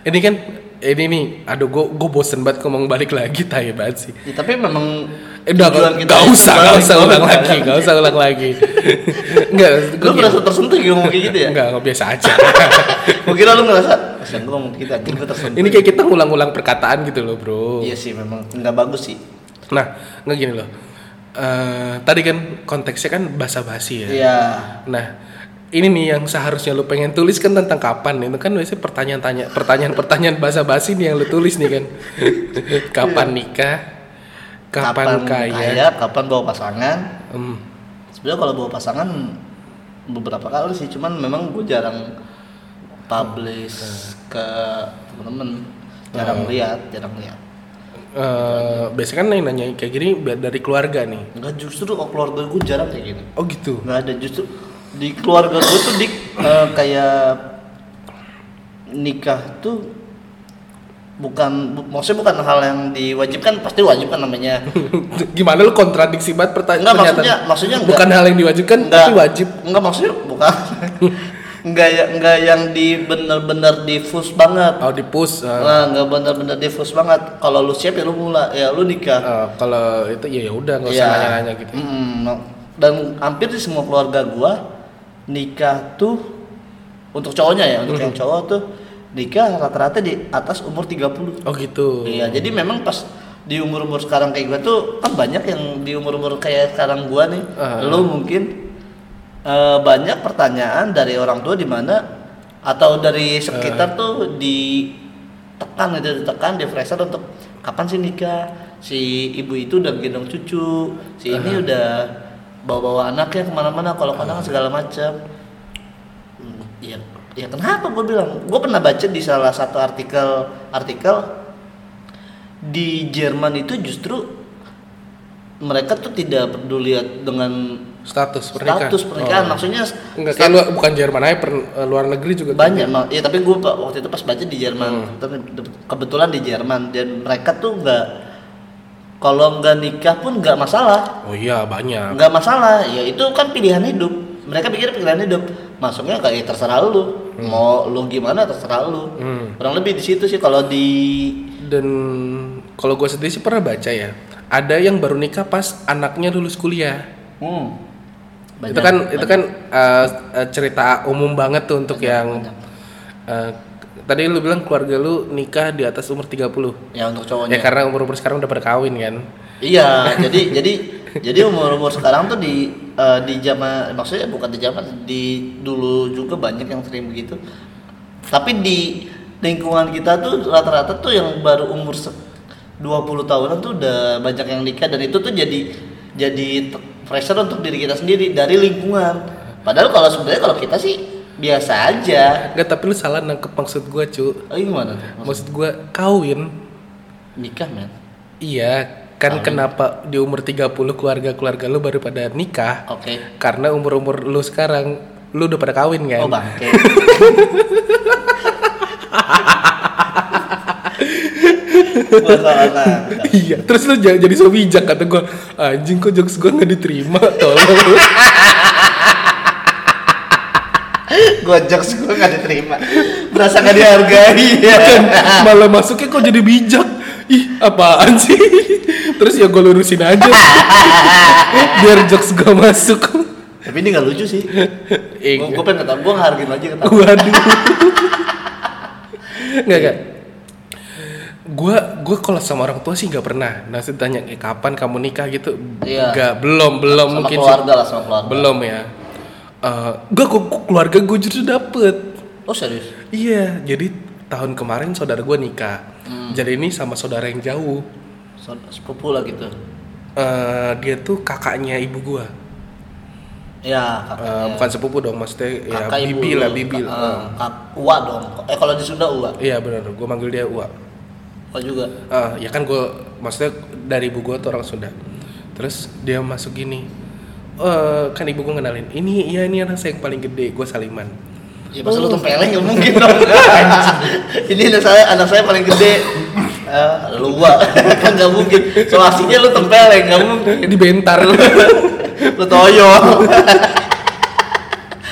Speaker 1: Ini kan ini nih, aduh gue gue bosen banget ngomong balik lagi tai banget sih.
Speaker 2: Ya, tapi memang
Speaker 1: Eh, udah
Speaker 2: tujuan
Speaker 1: gak,
Speaker 2: kita itu
Speaker 1: usah, gak
Speaker 2: balik
Speaker 1: usah
Speaker 2: dulu,
Speaker 1: ulang
Speaker 2: kan?
Speaker 1: lagi, gak usah ulang lagi. Enggak,
Speaker 2: Lu merasa tersentuh gitu ngomong kayak gitu ya?
Speaker 1: Enggak, enggak biasa aja.
Speaker 2: Gue kira lu ngerasa, kasihan gue ngomong kita, anjing gue tersentuh.
Speaker 1: ini kayak kita ngulang-ulang perkataan gitu loh, Bro.
Speaker 2: Iya sih, memang nggak bagus sih.
Speaker 1: Nah, enggak gini loh. Eh, tadi kan konteksnya kan basa-basi ya.
Speaker 2: Iya.
Speaker 1: Nah, ini nih yang seharusnya lu pengen tulis kan tentang kapan itu kan biasanya pertanyaan-tanya pertanyaan-pertanyaan basa-basi nih yang lu tulis nih kan. kapan nikah? Kapan, kaya?
Speaker 2: kapan bawa pasangan
Speaker 1: Hmm.
Speaker 2: sebenarnya kalau bawa pasangan beberapa kali sih cuman memang gue jarang publish ke temen-temen jarang
Speaker 1: Oh.
Speaker 2: lihat jarang lihat
Speaker 1: Eh, biasanya kan yang nanya kayak gini biar dari keluarga nih.
Speaker 2: enggak justru kok keluarga gue jarang kayak gini
Speaker 1: Oh gitu.
Speaker 2: enggak ada justru di keluarga gue tuh di eh, kayak nikah tuh bukan bu- maksudnya bukan hal yang diwajibkan pasti wajib kan namanya
Speaker 1: Gimana lu kontradiksi banget pertanyaan?
Speaker 2: Enggak, maksudnya- maksudnya enggak.
Speaker 1: bukan hal yang diwajibkan tapi wajib.
Speaker 2: Enggak maksudnya bukan. enggak ya, enggak yang di bener-bener difus banget.
Speaker 1: Oh dipus. eh.
Speaker 2: Nah, enggak bener-bener difus banget. Kalau lu siap ya lu mulai, ya lu nikah.
Speaker 1: Eh, kalau itu ya ya udah nggak usah
Speaker 2: Iya.
Speaker 1: nanya-nanya gitu.
Speaker 2: Mm-mm. Dan hampir di semua keluarga gua nikah tuh untuk cowoknya ya, untuk yang cowok tuh nikah rata-rata di atas umur 30.
Speaker 1: Oh gitu.
Speaker 2: Iya, jadi memang pas di umur-umur sekarang kayak gue tuh kan banyak yang di umur-umur kayak sekarang gua nih,
Speaker 1: Ah.
Speaker 2: lu mungkin eh, banyak pertanyaan dari orang tua di mana atau dari
Speaker 1: Ah.
Speaker 2: sekitar tuh ditekan gitu ditekan di freezer untuk kapan sih nikah si ibu itu udah gendong cucu si ini udah bawa-bawa anaknya kemana-mana kalau kadang segala macam Hmm, ya ya kenapa gue bilang gue pernah baca di salah satu artikel artikel di Jerman itu justru mereka tuh tidak peduli dengan
Speaker 1: Status pernikahan.
Speaker 2: status pernikahan
Speaker 1: Oh.
Speaker 2: maksudnya
Speaker 1: Enggak,
Speaker 2: status-
Speaker 1: kayak lu- bukan Jerman aja, per- eh, luar negeri juga gitu.
Speaker 2: banyak Mak. ya tapi gue waktu itu pas baca di Jerman
Speaker 1: Hmm.
Speaker 2: tapi de- kebetulan di Jerman dan mereka tuh nggak kalau nggak nikah pun nggak masalah
Speaker 1: Oh iya banyak.
Speaker 2: nggak masalah ya itu kan pilihan hidup mereka pikir pilihan hidup ya, masuknya kayak terserah lu mau lu gimana terserah lu
Speaker 1: Hmm.
Speaker 2: kurang lebih di situ sih kalau di
Speaker 1: dan kalau gue sendiri sih pernah baca ya ada yang baru nikah pas anaknya lulus kuliah
Speaker 2: Hmm.
Speaker 1: itu kan itu kan uh, uh, cerita umum banget tuh untuk yang uh, tadi lu bilang keluarga lu nikah di atas umur 30
Speaker 2: ya untuk
Speaker 1: ya
Speaker 2: cowoknya.
Speaker 1: karena umur umur sekarang udah pada kawin kan
Speaker 2: Iya, jadi jadi jadi umur-umur sekarang tuh di eh, di zaman maksudnya bukan di zaman di dulu juga banyak yang sering begitu. Tapi di lingkungan kita tuh rata-rata tuh yang baru umur se- 20 tahunan tuh udah banyak yang nikah dan itu tuh jadi jadi t- pressure untuk diri kita sendiri dari lingkungan. Padahal kalau sebenarnya kalau kita sih biasa aja.
Speaker 1: enggak tapi lu salah nangkep maksud gue cu
Speaker 2: Oh, ini gimana? tuh? Maksud-
Speaker 1: maksud gue kawin
Speaker 2: Nikah, men.
Speaker 1: iya kan
Speaker 2: Kawin.
Speaker 1: kenapa di umur 30 keluarga keluarga lu baru pada nikah
Speaker 2: Oke.
Speaker 1: karena umur umur lu sekarang lu udah pada kawin kan
Speaker 2: Oh, bangke. Gua salah nangkep.
Speaker 1: Iya, terus lu jangan jadi so bijak kata gua. Anjing kok jokes gua nggak diterima, tolong.
Speaker 2: Gua jokes gua gak diterima. Berasa gak dihargai. Ya.
Speaker 1: Kan, malah masuknya kok jadi bijak. Ih, apaan sih? Terus ya gua lurusin aja. Biar jokes gua masuk.
Speaker 2: Tapi ini gak lucu sih.
Speaker 1: Eh,
Speaker 2: Gua, gua pengen ketawa, gua ngehargain aja ketawa.
Speaker 1: Waduh. Enggak, enggak. Gua gua kalau sama orang tua sih nggak pernah. Nah, ditanya eh, kapan kamu nikah gitu?
Speaker 2: Iya.
Speaker 1: Enggak, belum, belum
Speaker 2: Sama
Speaker 1: mungkin. sih.
Speaker 2: keluarga lah, sama keluarga.
Speaker 1: Belum ya. Eh, gua gua- keluarga gue justru dapet.
Speaker 2: Oh serius?
Speaker 1: Iya, jadi tahun kemarin saudara gue nikah.
Speaker 2: Hmm.
Speaker 1: Jadi ini sama saudara yang jauh.
Speaker 2: So- Sepupu lah gitu.
Speaker 1: Eh, dia tuh kakaknya ibu gue. Eh,
Speaker 2: Ya, kakaknya.
Speaker 1: bukan sepupu dong, maksudnya ya
Speaker 2: Kakak ibu
Speaker 1: bibi
Speaker 2: lu.
Speaker 1: lah, bibi
Speaker 2: Ka-
Speaker 1: lah.
Speaker 2: eh, kak, uwa dong. Eh kalau di Sunda uwa.
Speaker 1: Iya benar, gue manggil dia Ua.
Speaker 2: Uwa juga.
Speaker 1: Eh, ya kan gue, maksudnya dari ibu gue tuh orang Sunda. Terus dia masuk gini, Eh, kan ibu gue kenalin, ini iya ini anak saya yang paling gede, gue Saliman.
Speaker 2: Ya masa lu
Speaker 1: Oh.
Speaker 2: tempeleng nggak mungkin dong gitu. Ini anak saya, anak saya paling gede Eh, Lu gua kan nggak mungkin So aslinya lu tempeleng nggak mungkin
Speaker 1: Di bentar lu.
Speaker 2: Lu toyol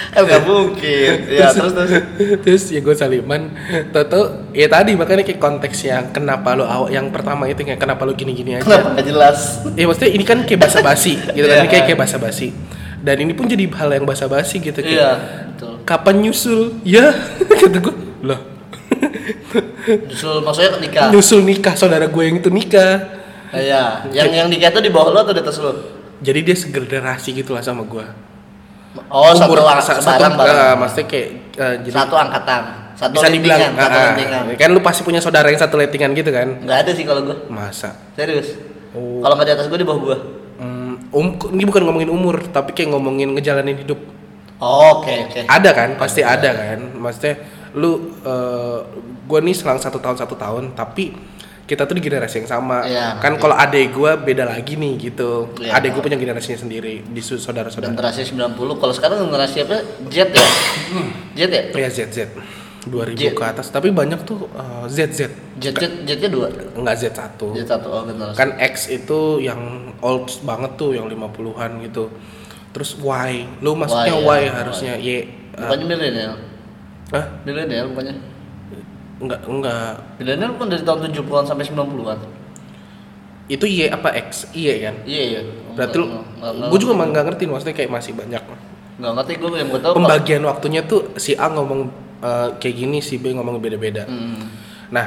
Speaker 2: Kan nggak mungkin Ya terus terus
Speaker 1: terus ya gue saliman tau ya tadi makanya kayak konteksnya kenapa lo awal yang pertama itu kayak kenapa lo gini-gini aja
Speaker 2: Kenapa nggak jelas
Speaker 1: ya maksudnya ini kan kayak basa-basi gitu kan
Speaker 2: Iya.
Speaker 1: ini kayak kayak basa-basi dan ini pun jadi hal yang basa-basi gitu kayak
Speaker 2: Iya betul
Speaker 1: kapan nyusul ya kata gue loh
Speaker 2: Justru maksudnya nikah
Speaker 1: nyusul nikah saudara gue yang itu nikah
Speaker 2: Nah, Ya yang, yang nikah itu di bawah lu atau di atas lu?
Speaker 1: jadi dia segenerasi gitu lah sama gue
Speaker 2: Oh satu,
Speaker 1: Umur-
Speaker 2: lang-
Speaker 1: sa- satu
Speaker 2: sebarang
Speaker 1: eh,
Speaker 2: barang
Speaker 1: maksudnya kayak eh, jadi
Speaker 2: Satu angkatan Satu
Speaker 1: bisa dibilang
Speaker 2: lentingan Satu
Speaker 1: ah, ah.
Speaker 2: lentingan
Speaker 1: kan lu pasti punya saudara yang satu letingan gitu kan
Speaker 2: Nggak ada sih kalau gua
Speaker 1: masa
Speaker 2: Serius
Speaker 1: Oh.
Speaker 2: Kalau nggak di atas gua di bawah gua
Speaker 1: Hmm, um, ini bukan ngomongin umur, tapi kayak ngomongin ngejalanin hidup.
Speaker 2: Oh, Oke oke.
Speaker 1: Ada kan, pasti ada kan. Maksudnya lu eh, gua nih selang satu tahun satu tahun, tapi kita tuh di generasi yang sama.
Speaker 2: Iya,
Speaker 1: kan kalau adek gua beda lagi nih gitu.
Speaker 2: Iya.
Speaker 1: Adek gua punya generasinya sendiri di su- saudara-saudara.
Speaker 2: Generasi 90. Kalau sekarang generasi apa? Jet ya. Jet ya.
Speaker 1: Ya Z Z 2000
Speaker 2: Jet.
Speaker 1: ke atas, tapi banyak tuh eh, Z Z.
Speaker 2: Jet jet jetnya dua.
Speaker 1: Enggak Z1.
Speaker 2: Jet satu oh generasi.
Speaker 1: Kan X itu yang old banget tuh, yang 50-an gitu. Terus Y, lu maksudnya
Speaker 2: Y,
Speaker 1: Y,
Speaker 2: ya.
Speaker 1: harusnya Y. eh,
Speaker 2: Bukannya milenial.
Speaker 1: Hah?
Speaker 2: Milenial bukannya.
Speaker 1: Enggak, enggak.
Speaker 2: Milenial kan dari tahun 70-an sampai 90-an.
Speaker 1: Itu Y apa X? Y kan?
Speaker 2: Iya iya.
Speaker 1: Berarti lu, gue juga mah nggak ngerti maksudnya kayak masih banyak.
Speaker 2: enggak ngerti gue yang gue tahu. kalau-
Speaker 1: Pembagian waktunya tuh si A ngomong eh, kayak gini, si B ngomong beda-beda.
Speaker 2: Hmm.
Speaker 1: Nah,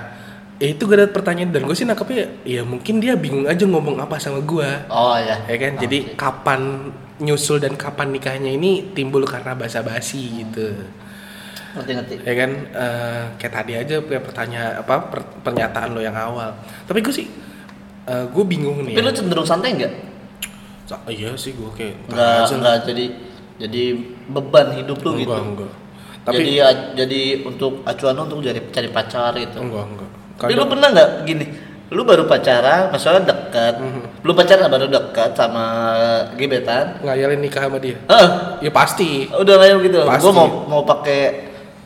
Speaker 1: ya itu gue ada pertanyaan dan gue sih nangkepnya ya mungkin dia bingung aja ngomong apa sama gua
Speaker 2: Oh ya.
Speaker 1: Ya kan? Jadi kapan nyusul dan kapan nikahnya ini timbul karena basa-basi gitu.
Speaker 2: Ngerti ngerti.
Speaker 1: ya kan eh, kayak tadi aja kayak pertanyaan apa per- pernyataan lo yang awal tapi gue sih gue bingung nih ya.
Speaker 2: Tapi lu cenderung santai enggak?
Speaker 1: Sa- iya sih gue kayak
Speaker 2: Enggak
Speaker 1: aja lah.
Speaker 2: enggak jadi jadi beban hidup lu gitu.
Speaker 1: enggak enggak tapi
Speaker 2: jadi a- jadi untuk acuan lu untuk cari cari pacar gitu.
Speaker 1: enggak enggak
Speaker 2: Tapi
Speaker 1: Kadang-
Speaker 2: lu pernah nggak gini? Lu baru pacaran, maksudnya dekat.
Speaker 1: Hmm.
Speaker 2: Lu pacaran baru dekat sama gebetan.
Speaker 1: ngayalin nikah sama dia
Speaker 2: Eh,
Speaker 1: ya pasti
Speaker 2: udah lah gitu.
Speaker 1: Pasti.
Speaker 2: Gua mau mau pakai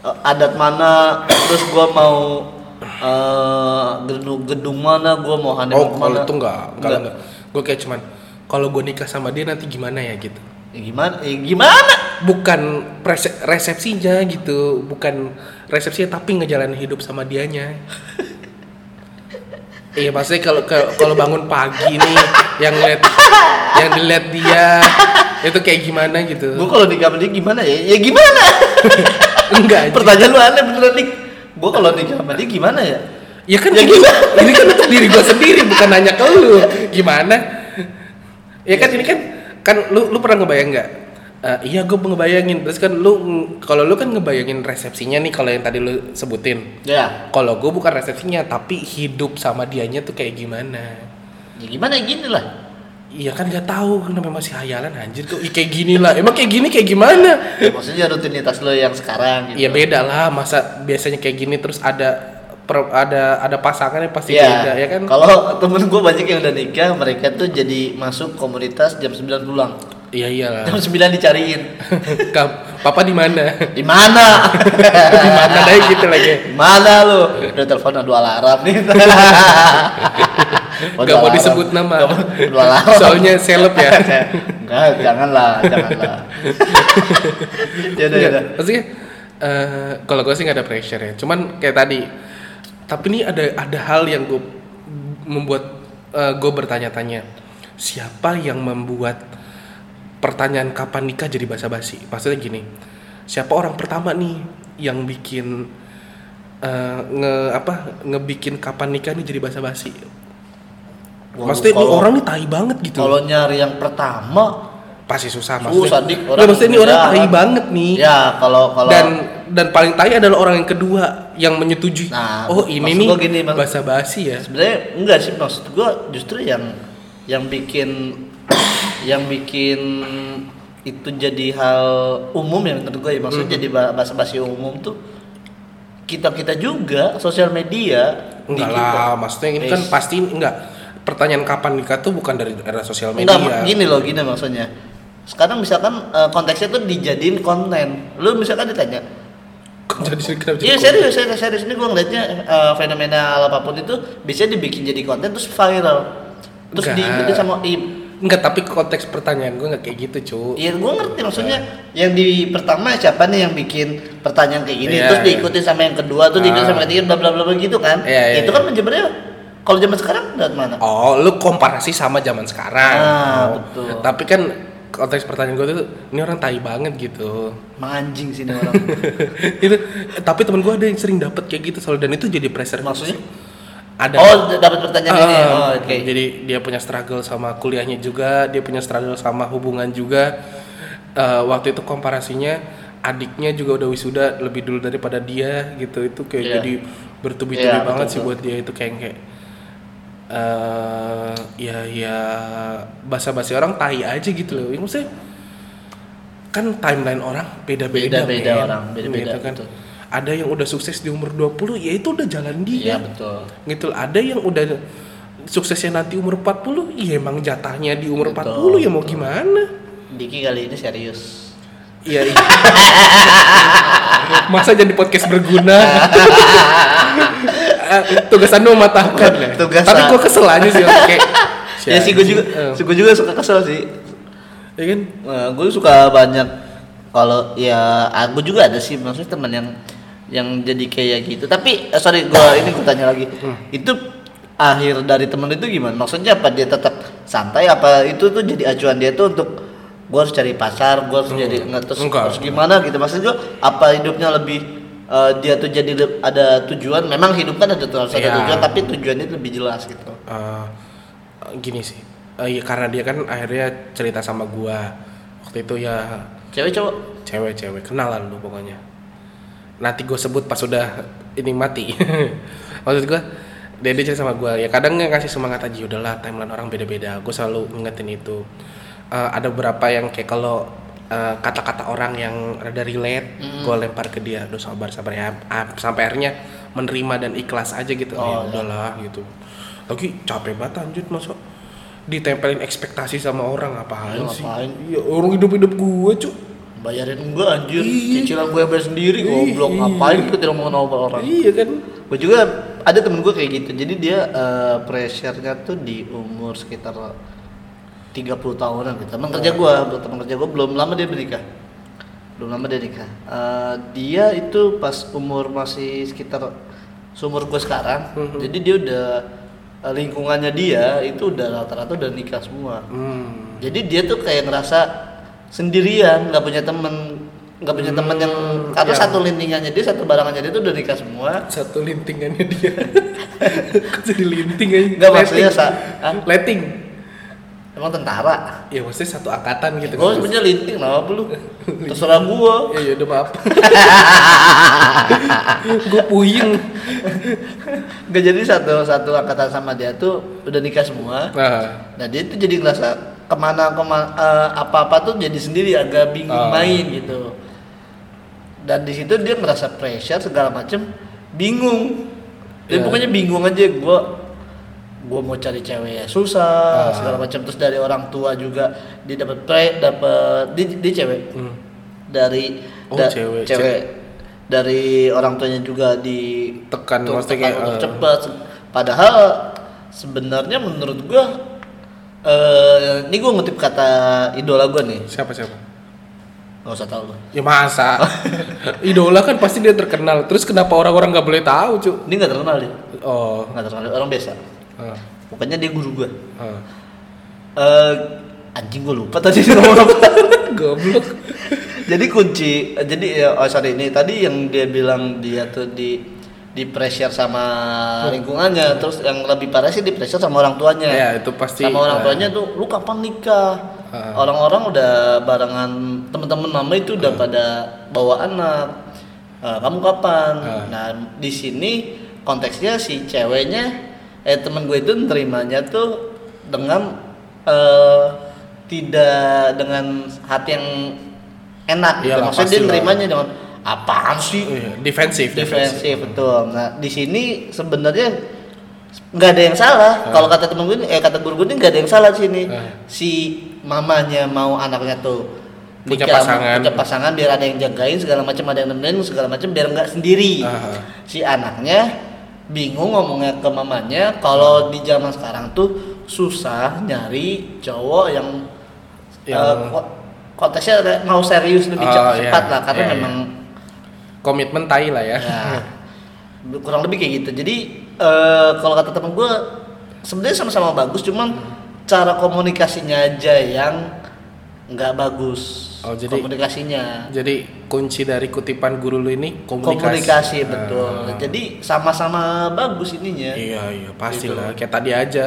Speaker 2: eh, adat mana, terus gua mau eh, gedung gedung mana, gua mau
Speaker 1: oh
Speaker 2: honeymoon
Speaker 1: kalau
Speaker 2: mana.
Speaker 1: itu enggak enggak enggak gue kayak cuman kalau gue nikah sama dia nanti gimana ya gitu
Speaker 2: Ya gimana? Ya gimana?
Speaker 1: bukan prese- resepsinya gitu bukan resepsinya tapi ngejalanin hidup sama dianya Iya maksudnya kalau kalau- kalau bangun pagi nih yang lihat yang dilihat dia itu kayak gimana gitu.
Speaker 2: Gue kalau nikah sama dia gimana ya? Ya gimana?
Speaker 1: Enggak. anjing.
Speaker 2: Pertanyaan lu aneh beneran nih. Gue kalau nikah sama dia gimana ya?
Speaker 1: Ya kan
Speaker 2: Ya
Speaker 1: ini,
Speaker 2: gimana?
Speaker 1: ini kan untuk diri gua sendiri bukan nanya ke lu. Gimana? Ya kan ini kan kan lu lu pernah ngebayang nggak? Eh, iya gue ngebayangin terus kan lu kalau lu kan ngebayangin resepsinya nih kalau yang tadi lu sebutin
Speaker 2: Ya.
Speaker 1: kalau gue bukan resepsinya tapi hidup sama dianya tuh kayak gimana
Speaker 2: Ya gimana ya gini lah.
Speaker 1: Iya kan nggak tahu kenapa masih hayalan anjir kok Ih, kayak gini lah. Emang kayak gini kayak gimana?
Speaker 2: Ya, maksudnya rutinitas lo yang sekarang gitu.
Speaker 1: Iya beda lah masa biasanya kayak gini terus ada per- ada ada pasangan yang pasti
Speaker 2: Iya.
Speaker 1: beda ya kan?
Speaker 2: Kalau temen gue banyak yang udah nikah, mereka tuh jadi masuk komunitas jam 9 pulang.
Speaker 1: Iya iyalah.
Speaker 2: Jam 9 dicariin.
Speaker 1: Kap- Papa di mana?
Speaker 2: Di mana?
Speaker 1: di mana deh gitu lagi.
Speaker 2: Di Mana lu? Udah telepon ada dua alarm nih.
Speaker 1: Gak mau disebut nama.
Speaker 2: Dua alarm.
Speaker 1: Soalnya seleb ya.
Speaker 2: Enggak, janganlah, janganlah. ya udah, ya
Speaker 1: Nggak,
Speaker 2: udah.
Speaker 1: Maksudnya eh, kalau gue sih nggak ada pressure ya. Cuman kayak tadi. Tapi ini ada ada hal yang gue membuat gue bertanya-tanya. Siapa yang membuat pertanyaan kapan nikah jadi basa-basi? Maksudnya gini. Siapa orang pertama nih yang bikin eh, nge apa ngebikin kapan nikah ini jadi basa-basi?
Speaker 2: Waduh,
Speaker 1: Maksudnya ini
Speaker 2: kalau-
Speaker 1: orang nih tai banget gitu.
Speaker 2: Kalau nyari yang pertama,
Speaker 1: Pasti susah
Speaker 2: susah
Speaker 1: maksudnya.
Speaker 2: dik
Speaker 1: Nggak, maksudnya ini orang
Speaker 2: beda
Speaker 1: tai
Speaker 2: kan.
Speaker 1: banget nih.
Speaker 2: Ya, kalau kalau
Speaker 1: Iya. dan dan paling tai adalah orang yang kedua yang menyetujui
Speaker 2: Nah,
Speaker 1: oh ini
Speaker 2: maksud
Speaker 1: nih
Speaker 2: gua gini, maksud-
Speaker 1: bahasa basi ya
Speaker 2: sebenarnya enggak sih maksud gua justru yang yang bikin yang bikin itu jadi hal umum ya menurut gua
Speaker 1: Mm-hmm.
Speaker 2: ya maksudnya jadi bahasa basi umum tuh kita kita juga sosial media di
Speaker 1: enggak
Speaker 2: kita.
Speaker 1: lah maksudnya ini kan
Speaker 2: Is.
Speaker 1: pasti enggak pertanyaan kapan nikah tuh bukan dari era sosial media
Speaker 2: Enggak, gini loh, gini maksudnya. Sekarang misalkan eh, konteksnya tuh dijadiin konten. Lu misalkan ditanya,
Speaker 1: Kok jadi kenapa jadi
Speaker 2: Iya
Speaker 1: konten?
Speaker 2: serius, serius, serius ini gue ngeliatnya eh, fenomena apapun itu biasanya dibikin jadi konten terus viral terus
Speaker 1: Enggak.
Speaker 2: diikuti sama im.
Speaker 1: enggak tapi konteks pertanyaan gue nggak kayak gitu cu
Speaker 2: Iya gue ngerti maksudnya yang di pertama siapa nih yang bikin pertanyaan kayak gini
Speaker 1: Iya,
Speaker 2: terus
Speaker 1: iya.
Speaker 2: diikuti sama yang kedua terus diikuti
Speaker 1: Ah.
Speaker 2: sama yang ketiga bla bla bla bla gitu kan?
Speaker 1: Iya, iya,
Speaker 2: itu kan sebenarnya kalau zaman sekarang dari mana?
Speaker 1: oh lu komparasi sama zaman sekarang
Speaker 2: Ah,
Speaker 1: Oh.
Speaker 2: betul.
Speaker 1: tapi kan konteks pertanyaan gue tuh ini orang tai banget gitu
Speaker 2: Manjing sih ini orang.
Speaker 1: itu tapi temen gue ada yang sering dapet kayak gitu soalnya dan itu jadi pressure
Speaker 2: maksudnya?
Speaker 1: ada
Speaker 2: Oh d- dapat pertanyaan ini.
Speaker 1: Ah,
Speaker 2: Oh, Oke.
Speaker 1: Jadi dia punya struggle sama kuliahnya juga, dia punya struggle sama hubungan juga. Eh, waktu itu komparasinya adiknya juga udah wisuda lebih dulu daripada dia gitu. Itu kayak
Speaker 2: Iya.
Speaker 1: jadi bertubi-tubi
Speaker 2: Iya,
Speaker 1: banget
Speaker 2: betul,
Speaker 1: sih
Speaker 2: betul.
Speaker 1: buat dia itu kayak kayak eh ya ya basa-basi orang tai aja gitu loh. Yang maksudnya kan timeline orang beda-beda
Speaker 2: Beda-beda
Speaker 1: men.
Speaker 2: orang, beda-beda,
Speaker 1: Gitu kan.
Speaker 2: betul.
Speaker 1: Ada yang udah sukses di umur 20 ya itu udah jalan dia
Speaker 2: Iya betul.
Speaker 1: gitu loh. ada yang udah suksesnya nanti umur 40 ya emang jatahnya di umur
Speaker 2: Betul,
Speaker 1: 40 ya mau gimana
Speaker 2: Diki kali ini serius.
Speaker 1: Iya. iya. masa jadi podcast berguna Eh, tugasan lu mematahkan ya
Speaker 2: Tugasan.
Speaker 1: tapi gua kesel aja sih orang kayak
Speaker 2: Ya sih gue juga,
Speaker 1: Eh,
Speaker 2: sih gue juga suka kesel sih.
Speaker 1: ya kan
Speaker 2: Nah, gue suka banyak kalau ya aku juga ada sih maksudnya teman yang yang jadi kayak gitu. Tapi eh, sorry gue ini gue tanya lagi.
Speaker 1: Hmm.
Speaker 2: Itu akhir dari temen itu gimana? Maksudnya apa dia tetap santai apa itu tuh jadi acuan dia tuh untuk gue harus cari pasar, gue harus jadi nggak terus,
Speaker 1: Hmm. Enggak.
Speaker 2: terus gimana gitu. Maksud gue apa hidupnya lebih eh, dia tuh jadi le- ada tujuan. Memang hidup kan ada terus ada
Speaker 1: Iya.
Speaker 2: tujuan, tapi tujuannya itu lebih jelas gitu.
Speaker 1: Eh, gini sih Eh, iya, karena dia kan akhirnya cerita sama gua waktu itu ya
Speaker 2: Cewek cowok
Speaker 1: cewek-cewek kenalan lu pokoknya nanti gue sebut pas udah ini mati maksud gue dia dia cerita sama gue ya kadang nggak kasih semangat aja udahlah timeline orang beda-beda gue selalu ngingetin itu Eh, ada beberapa yang kayak kalau eh, kata-kata orang yang rada relate gue lempar ke dia udah sabar sabar ya Ah, sampai akhirnya menerima dan ikhlas aja gitu oh,
Speaker 2: iya.
Speaker 1: ya udahlah gitu lagi capek banget lanjut masuk ditempelin ekspektasi sama orang apaan
Speaker 2: Iya,
Speaker 1: sih
Speaker 2: ngapain?
Speaker 1: iya orang hidup-hidup gue cuy
Speaker 2: bayarin gue anjir,
Speaker 1: Iya.
Speaker 2: cicilan gue bayar sendiri, goblok
Speaker 1: Iya.
Speaker 2: ngapain gue tidak mau nolak orang.
Speaker 1: Iya kan?
Speaker 2: Gue juga ada temen gue kayak gitu. Jadi dia eh, pressure-nya tuh di umur sekitar 30 tahunan gitu. Teman kerja
Speaker 1: Iya.
Speaker 2: gue, teman kerja gue belum lama dia menikah. Belum lama dia nikah. Eh, dia
Speaker 1: Hmm.
Speaker 2: itu pas umur masih sekitar seumur gue sekarang. Jadi dia udah eh, lingkungannya dia itu udah rata-rata udah nikah semua
Speaker 1: Hmm.
Speaker 2: jadi dia tuh kayak ngerasa sendirian nggak punya temen nggak punya temen yang atau
Speaker 1: ya.
Speaker 2: satu lintingannya dia satu barangannya dia tuh udah nikah semua
Speaker 1: Satu lintingannya dia. Kok jadi linting aja?
Speaker 2: Nggak, maksudnya sa- Hah?
Speaker 1: Leting.
Speaker 2: emang tentara
Speaker 1: Ya maksudnya satu angkatan gitu.
Speaker 2: gue sebenernya linting lah apa lu terserah gua
Speaker 1: Ya ya udah maaf. gue puyeng.
Speaker 2: nggak jadi satu satu angkatan sama dia tuh udah nikah semua
Speaker 1: Nah,
Speaker 2: nah dia tuh jadi ngerasa kemana kemana apa apa tuh jadi sendiri agak bingung
Speaker 1: Ah.
Speaker 2: main gitu dan di situ dia merasa pressure segala macem bingung
Speaker 1: Ya.
Speaker 2: dia pokoknya bingung aja gue gue mau cari cewek ya susah
Speaker 1: Ah.
Speaker 2: segala macam terus dari orang tua juga dia dapat pre dapat dia, dia cewek
Speaker 1: hmm.
Speaker 2: dari
Speaker 1: Oh, cewek,
Speaker 2: cewek. dari orang tuanya juga di
Speaker 1: Tekan,
Speaker 2: tur-
Speaker 1: maksudnya
Speaker 2: tekan
Speaker 1: kayak,
Speaker 2: untuk
Speaker 1: eh.
Speaker 2: cepat padahal sebenarnya menurut gua eh ini gua ngutip kata idola gua nih
Speaker 1: siapa siapa?
Speaker 2: nggak usah tahu lu
Speaker 1: Ya masa? Idola kan pasti dia terkenal. Terus kenapa orang-orang nggak boleh tahu, cu?
Speaker 2: ini nggak terkenal dia
Speaker 1: Oh.
Speaker 2: nggak terkenal orang biasa
Speaker 1: ah,
Speaker 2: pokoknya dia guru gua
Speaker 1: ah.
Speaker 2: Eh, anjing gua lupa tadi dia ngomong apa
Speaker 1: Goblok.
Speaker 2: jadi kunci eh, jadi ya, oh sorry ini tadi yang dia bilang dia tuh di di pressure sama lingkungannya terus yang lebih parah sih di pressure sama orang tuanya
Speaker 1: Ya, itu pasti,
Speaker 2: sama orang
Speaker 1: eh.
Speaker 2: tuanya tuh lu kapan nikah
Speaker 1: Eh.
Speaker 2: orang-orang udah barengan teman-teman mama itu udah pada bawa anak Eh, kamu kapan
Speaker 1: Eh.
Speaker 2: nah di sini konteksnya si ceweknya eh teman gue itu nerimanya tuh dengan eh, tidak dengan hati yang enak gitu.
Speaker 1: Iyalah,
Speaker 2: maksudnya dia
Speaker 1: pastilah.
Speaker 2: nerimanya dengan apaan sih
Speaker 1: Iya, defensif, defensif.
Speaker 2: defensif betul nah di sini sebenarnya nggak ada yang salah kalau kata temen gue ini eh kata guru gue ini nggak ada yang salah di sini
Speaker 1: Ah.
Speaker 2: si mamanya mau anaknya tuh
Speaker 1: Punya
Speaker 2: nikah,
Speaker 1: pasangan.
Speaker 2: punya pasangan biar ada yang jagain segala macam ada yang nemenin segala macam biar nggak sendiri
Speaker 1: Ah.
Speaker 2: si anaknya bingung ngomongnya ke mamanya
Speaker 1: Ah.
Speaker 2: kalau di zaman sekarang tuh susah nyari cowok yang,
Speaker 1: Yang-
Speaker 2: eh, ko- konteksnya ada- mau serius lebih
Speaker 1: Oh,
Speaker 2: cepat
Speaker 1: iya.
Speaker 2: lah karena
Speaker 1: Iya, iya.
Speaker 2: memang
Speaker 1: Komitmen tai lah ya.
Speaker 2: Ya, kurang lebih kayak gitu. Jadi eh, kalau kata temen gue, sebenarnya sama-sama bagus, cuman cara komunikasinya aja yang nggak bagus.
Speaker 1: Oh, jadi-
Speaker 2: komunikasinya,
Speaker 1: Jadi kunci dari kutipan guru lu ini komunikasi.
Speaker 2: komunikasi betul.
Speaker 1: Ah.
Speaker 2: Jadi sama-sama bagus ininya.
Speaker 1: Iya iya pasti
Speaker 2: Gitu.
Speaker 1: lah. Kayak tadi aja,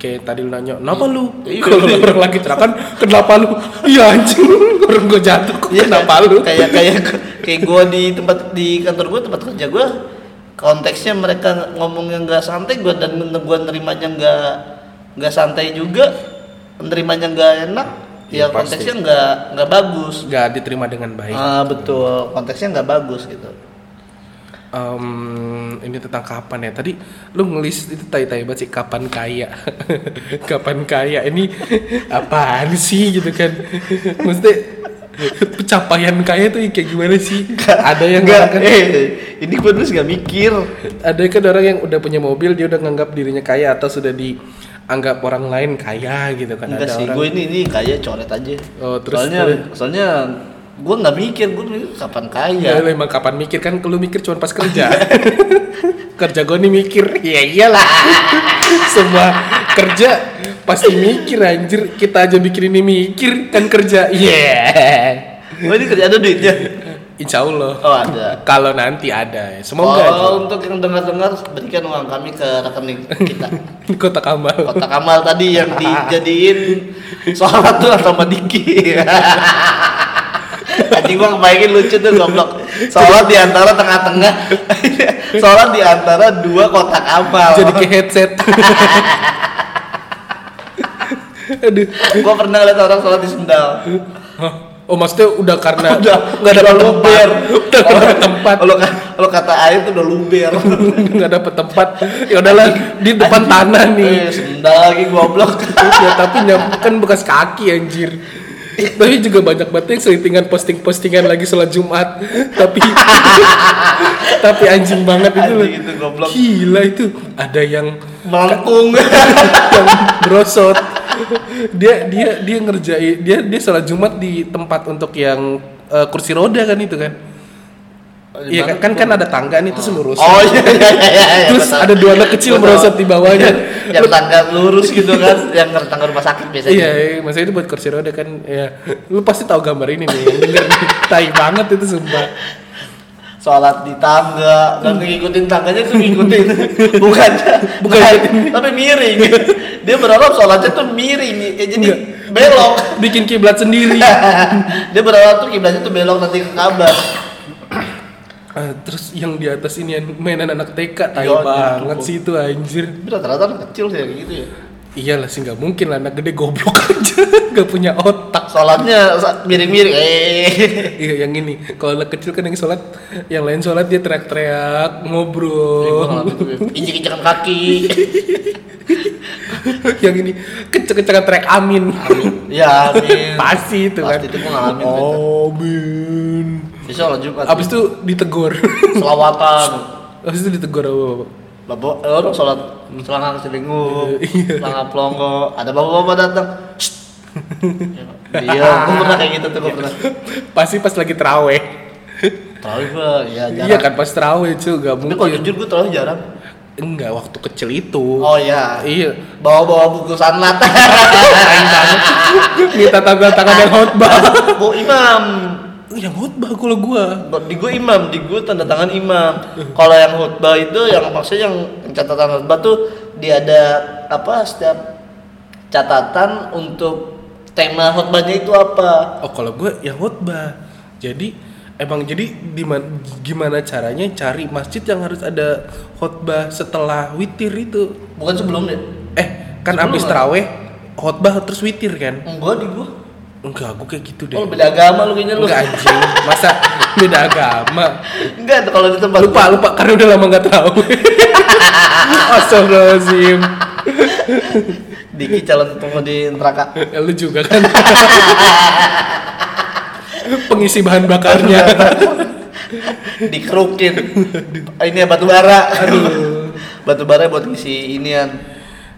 Speaker 1: kayak tadi lu nanya, kenapa lu?
Speaker 2: Iya.
Speaker 1: Kalau orang lagi cerakan, kenapa lu? Iya anjing, orang gue jatuh, kok
Speaker 2: Iya,
Speaker 1: kenapa
Speaker 2: kayak-
Speaker 1: lu?
Speaker 2: Kayak kayak kayak gue di tempat di kantor gue tempat kerja gue konteksnya mereka ngomongnya nggak santai gue dan gue nerimanya nggak nggak santai juga nerimanya nggak enak ya,
Speaker 1: Iya, pasti.
Speaker 2: konteksnya nggak nggak bagus
Speaker 1: Gak diterima dengan baik.
Speaker 2: ah betul konteksnya nggak bagus gitu
Speaker 1: Em, ini tentang kapan ya? Tadi lu ngelis itu tai-tai banget sih kapan kaya. kapan kaya ini apaan sih gitu kan. Maksudnya pencapaian kaya tuh kayak gimana sih? Ada yang
Speaker 2: nggak
Speaker 1: orang kan-
Speaker 2: eh ini gue terus nggak mikir
Speaker 1: ada kan orang yang udah punya mobil dia udah nganggap dirinya kaya atau sudah dianggap orang lain kaya gitu kan
Speaker 2: enggak
Speaker 1: ada
Speaker 2: sih
Speaker 1: orang
Speaker 2: gue ini ini kayak coret aja
Speaker 1: Oh, terus-
Speaker 2: soalnya soalnya gue nggak mikir gue mikir kapan kaya
Speaker 1: ya lu emang kapan mikir kan lu mikir cuma pas kerja kerja gue nih mikir ya iyalah semua kerja pasti mikir anjir kita aja bikin ini mikir kan kerja yeah
Speaker 2: gue ini kerja ada duitnya
Speaker 1: insya Allah
Speaker 2: oh ada
Speaker 1: kalau nanti ada ya. semoga
Speaker 2: Semoga untuk yang dengar-dengar berikan uang kami ke rekening kita.
Speaker 1: aja. kotak amal
Speaker 2: Kotak amal tadi yang dijadiin sholat tuh sama Diki. Anjing gua kebayangin lucu tuh goblok. Sholat di antara tengah-tengah. sholat di antara dua kotak amal.
Speaker 1: jadi kayak headset aduh
Speaker 2: gua pernah lihat orang sholat di sendal.
Speaker 1: Hah? Oh maksudnya udah karena
Speaker 2: Udah
Speaker 1: nggak ada
Speaker 2: udah
Speaker 1: tempat,
Speaker 2: luber.
Speaker 1: udah nggak ada tempat,
Speaker 2: Kalau kalau kata air tuh udah luber.
Speaker 1: nggak dapet tempat. Ya udahlah di depan tanah nih.
Speaker 2: Eh, sendal lagi goblok.
Speaker 1: ya tapi nyam- kan bekas kaki anjir. Tapi juga banyak banget yang selintingan posting-postingan lagi sholat Jumat. Tapi tapi anjing banget itu. loh.
Speaker 2: Anjing itu goblok.
Speaker 1: Gila itu. Ada yang
Speaker 2: Melengkung.
Speaker 1: yang brosot. Dia dia dia ngerjain dia dia sholat Jumat di tempat untuk yang eh, kursi roda kan itu kan. Iya kan, kan kan ada tangga nih terus lurus.
Speaker 2: Oh iya iya iya. iya,
Speaker 1: Terus
Speaker 2: betul.
Speaker 1: ada dua anak kecil
Speaker 2: Betul. Iya,
Speaker 1: merosot di bawahnya.
Speaker 2: yang tangga lurus gitu kan, yang tangga rumah sakit biasanya.
Speaker 1: Iya, iya, maksudnya itu buat kursi roda kan. Ya, lu pasti tahu gambar ini nih. Yang denger nih, tai banget itu sumpah.
Speaker 2: Sholat di tangga, dan ngikutin tangganya tuh ngikutin, bukan
Speaker 1: Hmm. Bukan.
Speaker 2: bukan, tapi miring. Dia berharap sholatnya tuh miring, ya jadi
Speaker 1: Enggak.
Speaker 2: belok.
Speaker 1: Bikin kiblat sendiri.
Speaker 2: Dia berharap tuh kiblatnya tuh belok nanti ke kabar.
Speaker 1: Ah, terus yang di atas ini yang mainan anak TK tai
Speaker 2: Iya, anjir,
Speaker 1: banget
Speaker 2: tuh.
Speaker 1: sih itu anjir.
Speaker 2: Rata-rata anak kecil sih kayak gitu ya.
Speaker 1: Iyalah sih nggak mungkin lah anak gede goblok aja nggak punya otak.
Speaker 2: Sholatnya sa- miring-miring, eh.
Speaker 1: Iya yang ini kalau anak kecil kan yang sholat yang lain sholat dia teriak-teriak ngobrol.
Speaker 2: gitu ya. Injek-injekan kaki.
Speaker 1: yang ini kecek-kecekan teriak amin.
Speaker 2: Ya, amin.
Speaker 1: Pasti itu kan.
Speaker 2: Pasti itu gua ngalamin tuh, itu.
Speaker 1: Amin.
Speaker 2: Besok sholat Jumat.
Speaker 1: Abis itu ditegur.
Speaker 2: selawatan.
Speaker 1: Abis itu ditegur apa bapak?
Speaker 2: Bapak, eh, orang sholat selangang selingkuh,
Speaker 1: Iya,
Speaker 2: selangang pelongo. Ada bapak-bapak datang. Shh. Iya, gue pernah kayak gitu tuh, gue pernah.
Speaker 1: Pasti pas lagi teraweh.
Speaker 2: Terawih gue, ya
Speaker 1: Iya
Speaker 2: jarang.
Speaker 1: kan pas teraweh cuy nggak
Speaker 2: Tapi kalau
Speaker 1: mungkin.
Speaker 2: jujur gue terawih jarang.
Speaker 1: Enggak waktu kecil itu.
Speaker 2: Oh iya,
Speaker 1: Iya.
Speaker 2: bawa-bawa buku sanlat.
Speaker 1: Minta tanda tangan yang khotbah.
Speaker 2: Bu imam,
Speaker 1: Yang khotbah kalau gua.
Speaker 2: di gue imam, di gue tanda tangan imam. Kalau yang khutbah itu, yang maksudnya yang catatan khutbah tuh dia ada apa setiap catatan untuk tema khutbahnya itu apa.
Speaker 1: Oh kalau gue ya khotbah. Jadi emang jadi diman- gimana caranya cari masjid yang harus ada khotbah setelah witir itu?
Speaker 2: Bukan sebelum deh.
Speaker 1: Eh kan
Speaker 2: Sebelum
Speaker 1: abis
Speaker 2: lah.
Speaker 1: teraweh khotbah terus witir kan?
Speaker 2: Enggak di gua.
Speaker 1: Enggak, gue kayak gitu deh.
Speaker 2: Oh, beda agama lu kayaknya lu.
Speaker 1: Enggak anjing, masa beda agama.
Speaker 2: Enggak, kalau di tempat
Speaker 1: Lupa, lupa karena udah lama nggak tahu. Astagfirullahaladzim.
Speaker 2: Diki calon pengemudi neraka.
Speaker 1: Ya, lu juga kan. Pengisi bahan bakarnya.
Speaker 2: Dikerukin. Ini ya, batu bara. batu bara buat ngisi inian.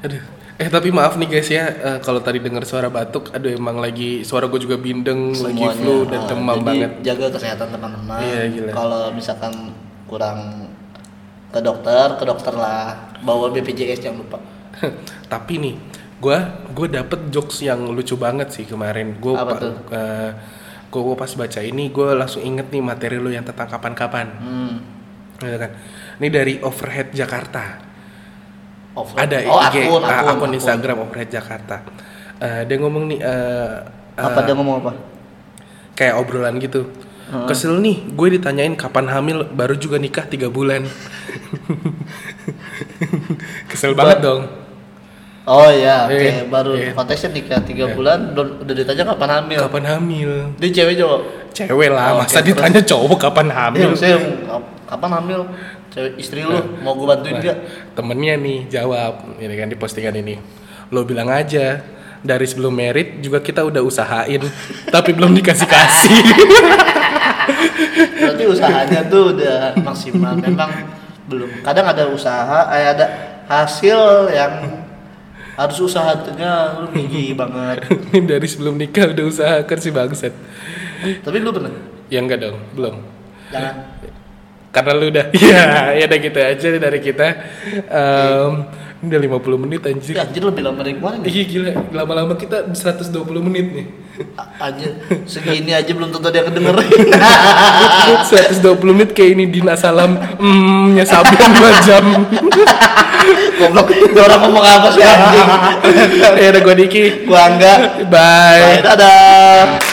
Speaker 1: Aduh. Eh tapi maaf nih guys ya, eh, kalau tadi dengar suara batuk, aduh emang lagi suara gue juga bindeng, lagi flu dan
Speaker 2: Ah,
Speaker 1: demam
Speaker 2: jadi
Speaker 1: banget.
Speaker 2: Jaga kesehatan teman-teman.
Speaker 1: Iya, gila.
Speaker 2: Kalau misalkan kurang ke dokter, ke dokter lah. Bawa BPJS jangan lupa.
Speaker 1: tapi nih, gue gue dapet jokes yang lucu banget sih kemarin. Gue
Speaker 2: Apa tuh?
Speaker 1: gue pas baca ini gue langsung inget nih materi lo yang tentang kapan-kapan,
Speaker 2: Hmm.
Speaker 1: Gitu kan? Ini dari Overhead Jakarta.
Speaker 2: Off-
Speaker 1: Ada
Speaker 2: oh,
Speaker 1: IG, ah,
Speaker 2: akun, akun,
Speaker 1: akun
Speaker 2: akun.
Speaker 1: Instagram Overhead Jakarta. Eh, dia ngomong nih. eh,
Speaker 2: Apa dia ngomong apa?
Speaker 1: kayak obrolan gitu. Kesel nih, gue ditanyain kapan hamil, baru juga nikah tiga bulan. Kesel banget dong.
Speaker 2: Oh iya, oke
Speaker 1: Iya,
Speaker 2: baru
Speaker 1: iya.
Speaker 2: kontesnya nikah tiga bulan belum udah ditanya kapan hamil.
Speaker 1: Kapan hamil?
Speaker 2: Dia cewek cowok.
Speaker 1: Cewek lah,
Speaker 2: Oh, Iya, oke,
Speaker 1: masa
Speaker 2: terus?
Speaker 1: ditanya cowok kapan
Speaker 2: Hamil.
Speaker 1: hamil?
Speaker 2: Saya kapan hamil? Cewek istri lu mau gue
Speaker 1: Nah,
Speaker 2: bantuin gak?
Speaker 1: temennya nih jawab, ini kan di postingan ini. Lo bilang aja, dari sebelum merit juga kita udah usahain, tapi belum dikasih-kasih.
Speaker 2: Berarti usahanya tuh udah maksimal. Memang belum. Kadang ada usaha, eh, ada hasil yang harus usaha tengah lu gigi banget.
Speaker 1: Ini dari sebelum nikah udah usahakan sih bangsat.
Speaker 2: Tapi lu pernah?
Speaker 1: Ya enggak dong, belum.
Speaker 2: Jangan.
Speaker 1: karena lu udah ya ya udah gitu aja nih dari kita Em, ini udah 50 menit anjir
Speaker 2: Ih, Anjir lebih lama dari kemarin. ya?
Speaker 1: iya gila lama-lama kita 120 menit nih
Speaker 2: A- Anjir segini aja belum tentu dia kedengerin.
Speaker 1: 120 menit kayak ini Dina Salam hmm nyesabin 2 jam
Speaker 2: Goblok. Dia orang ngomong apa sih anjing?
Speaker 1: ya udah gue Diki
Speaker 2: Gua enggak.
Speaker 1: bye
Speaker 2: Bye, dadah.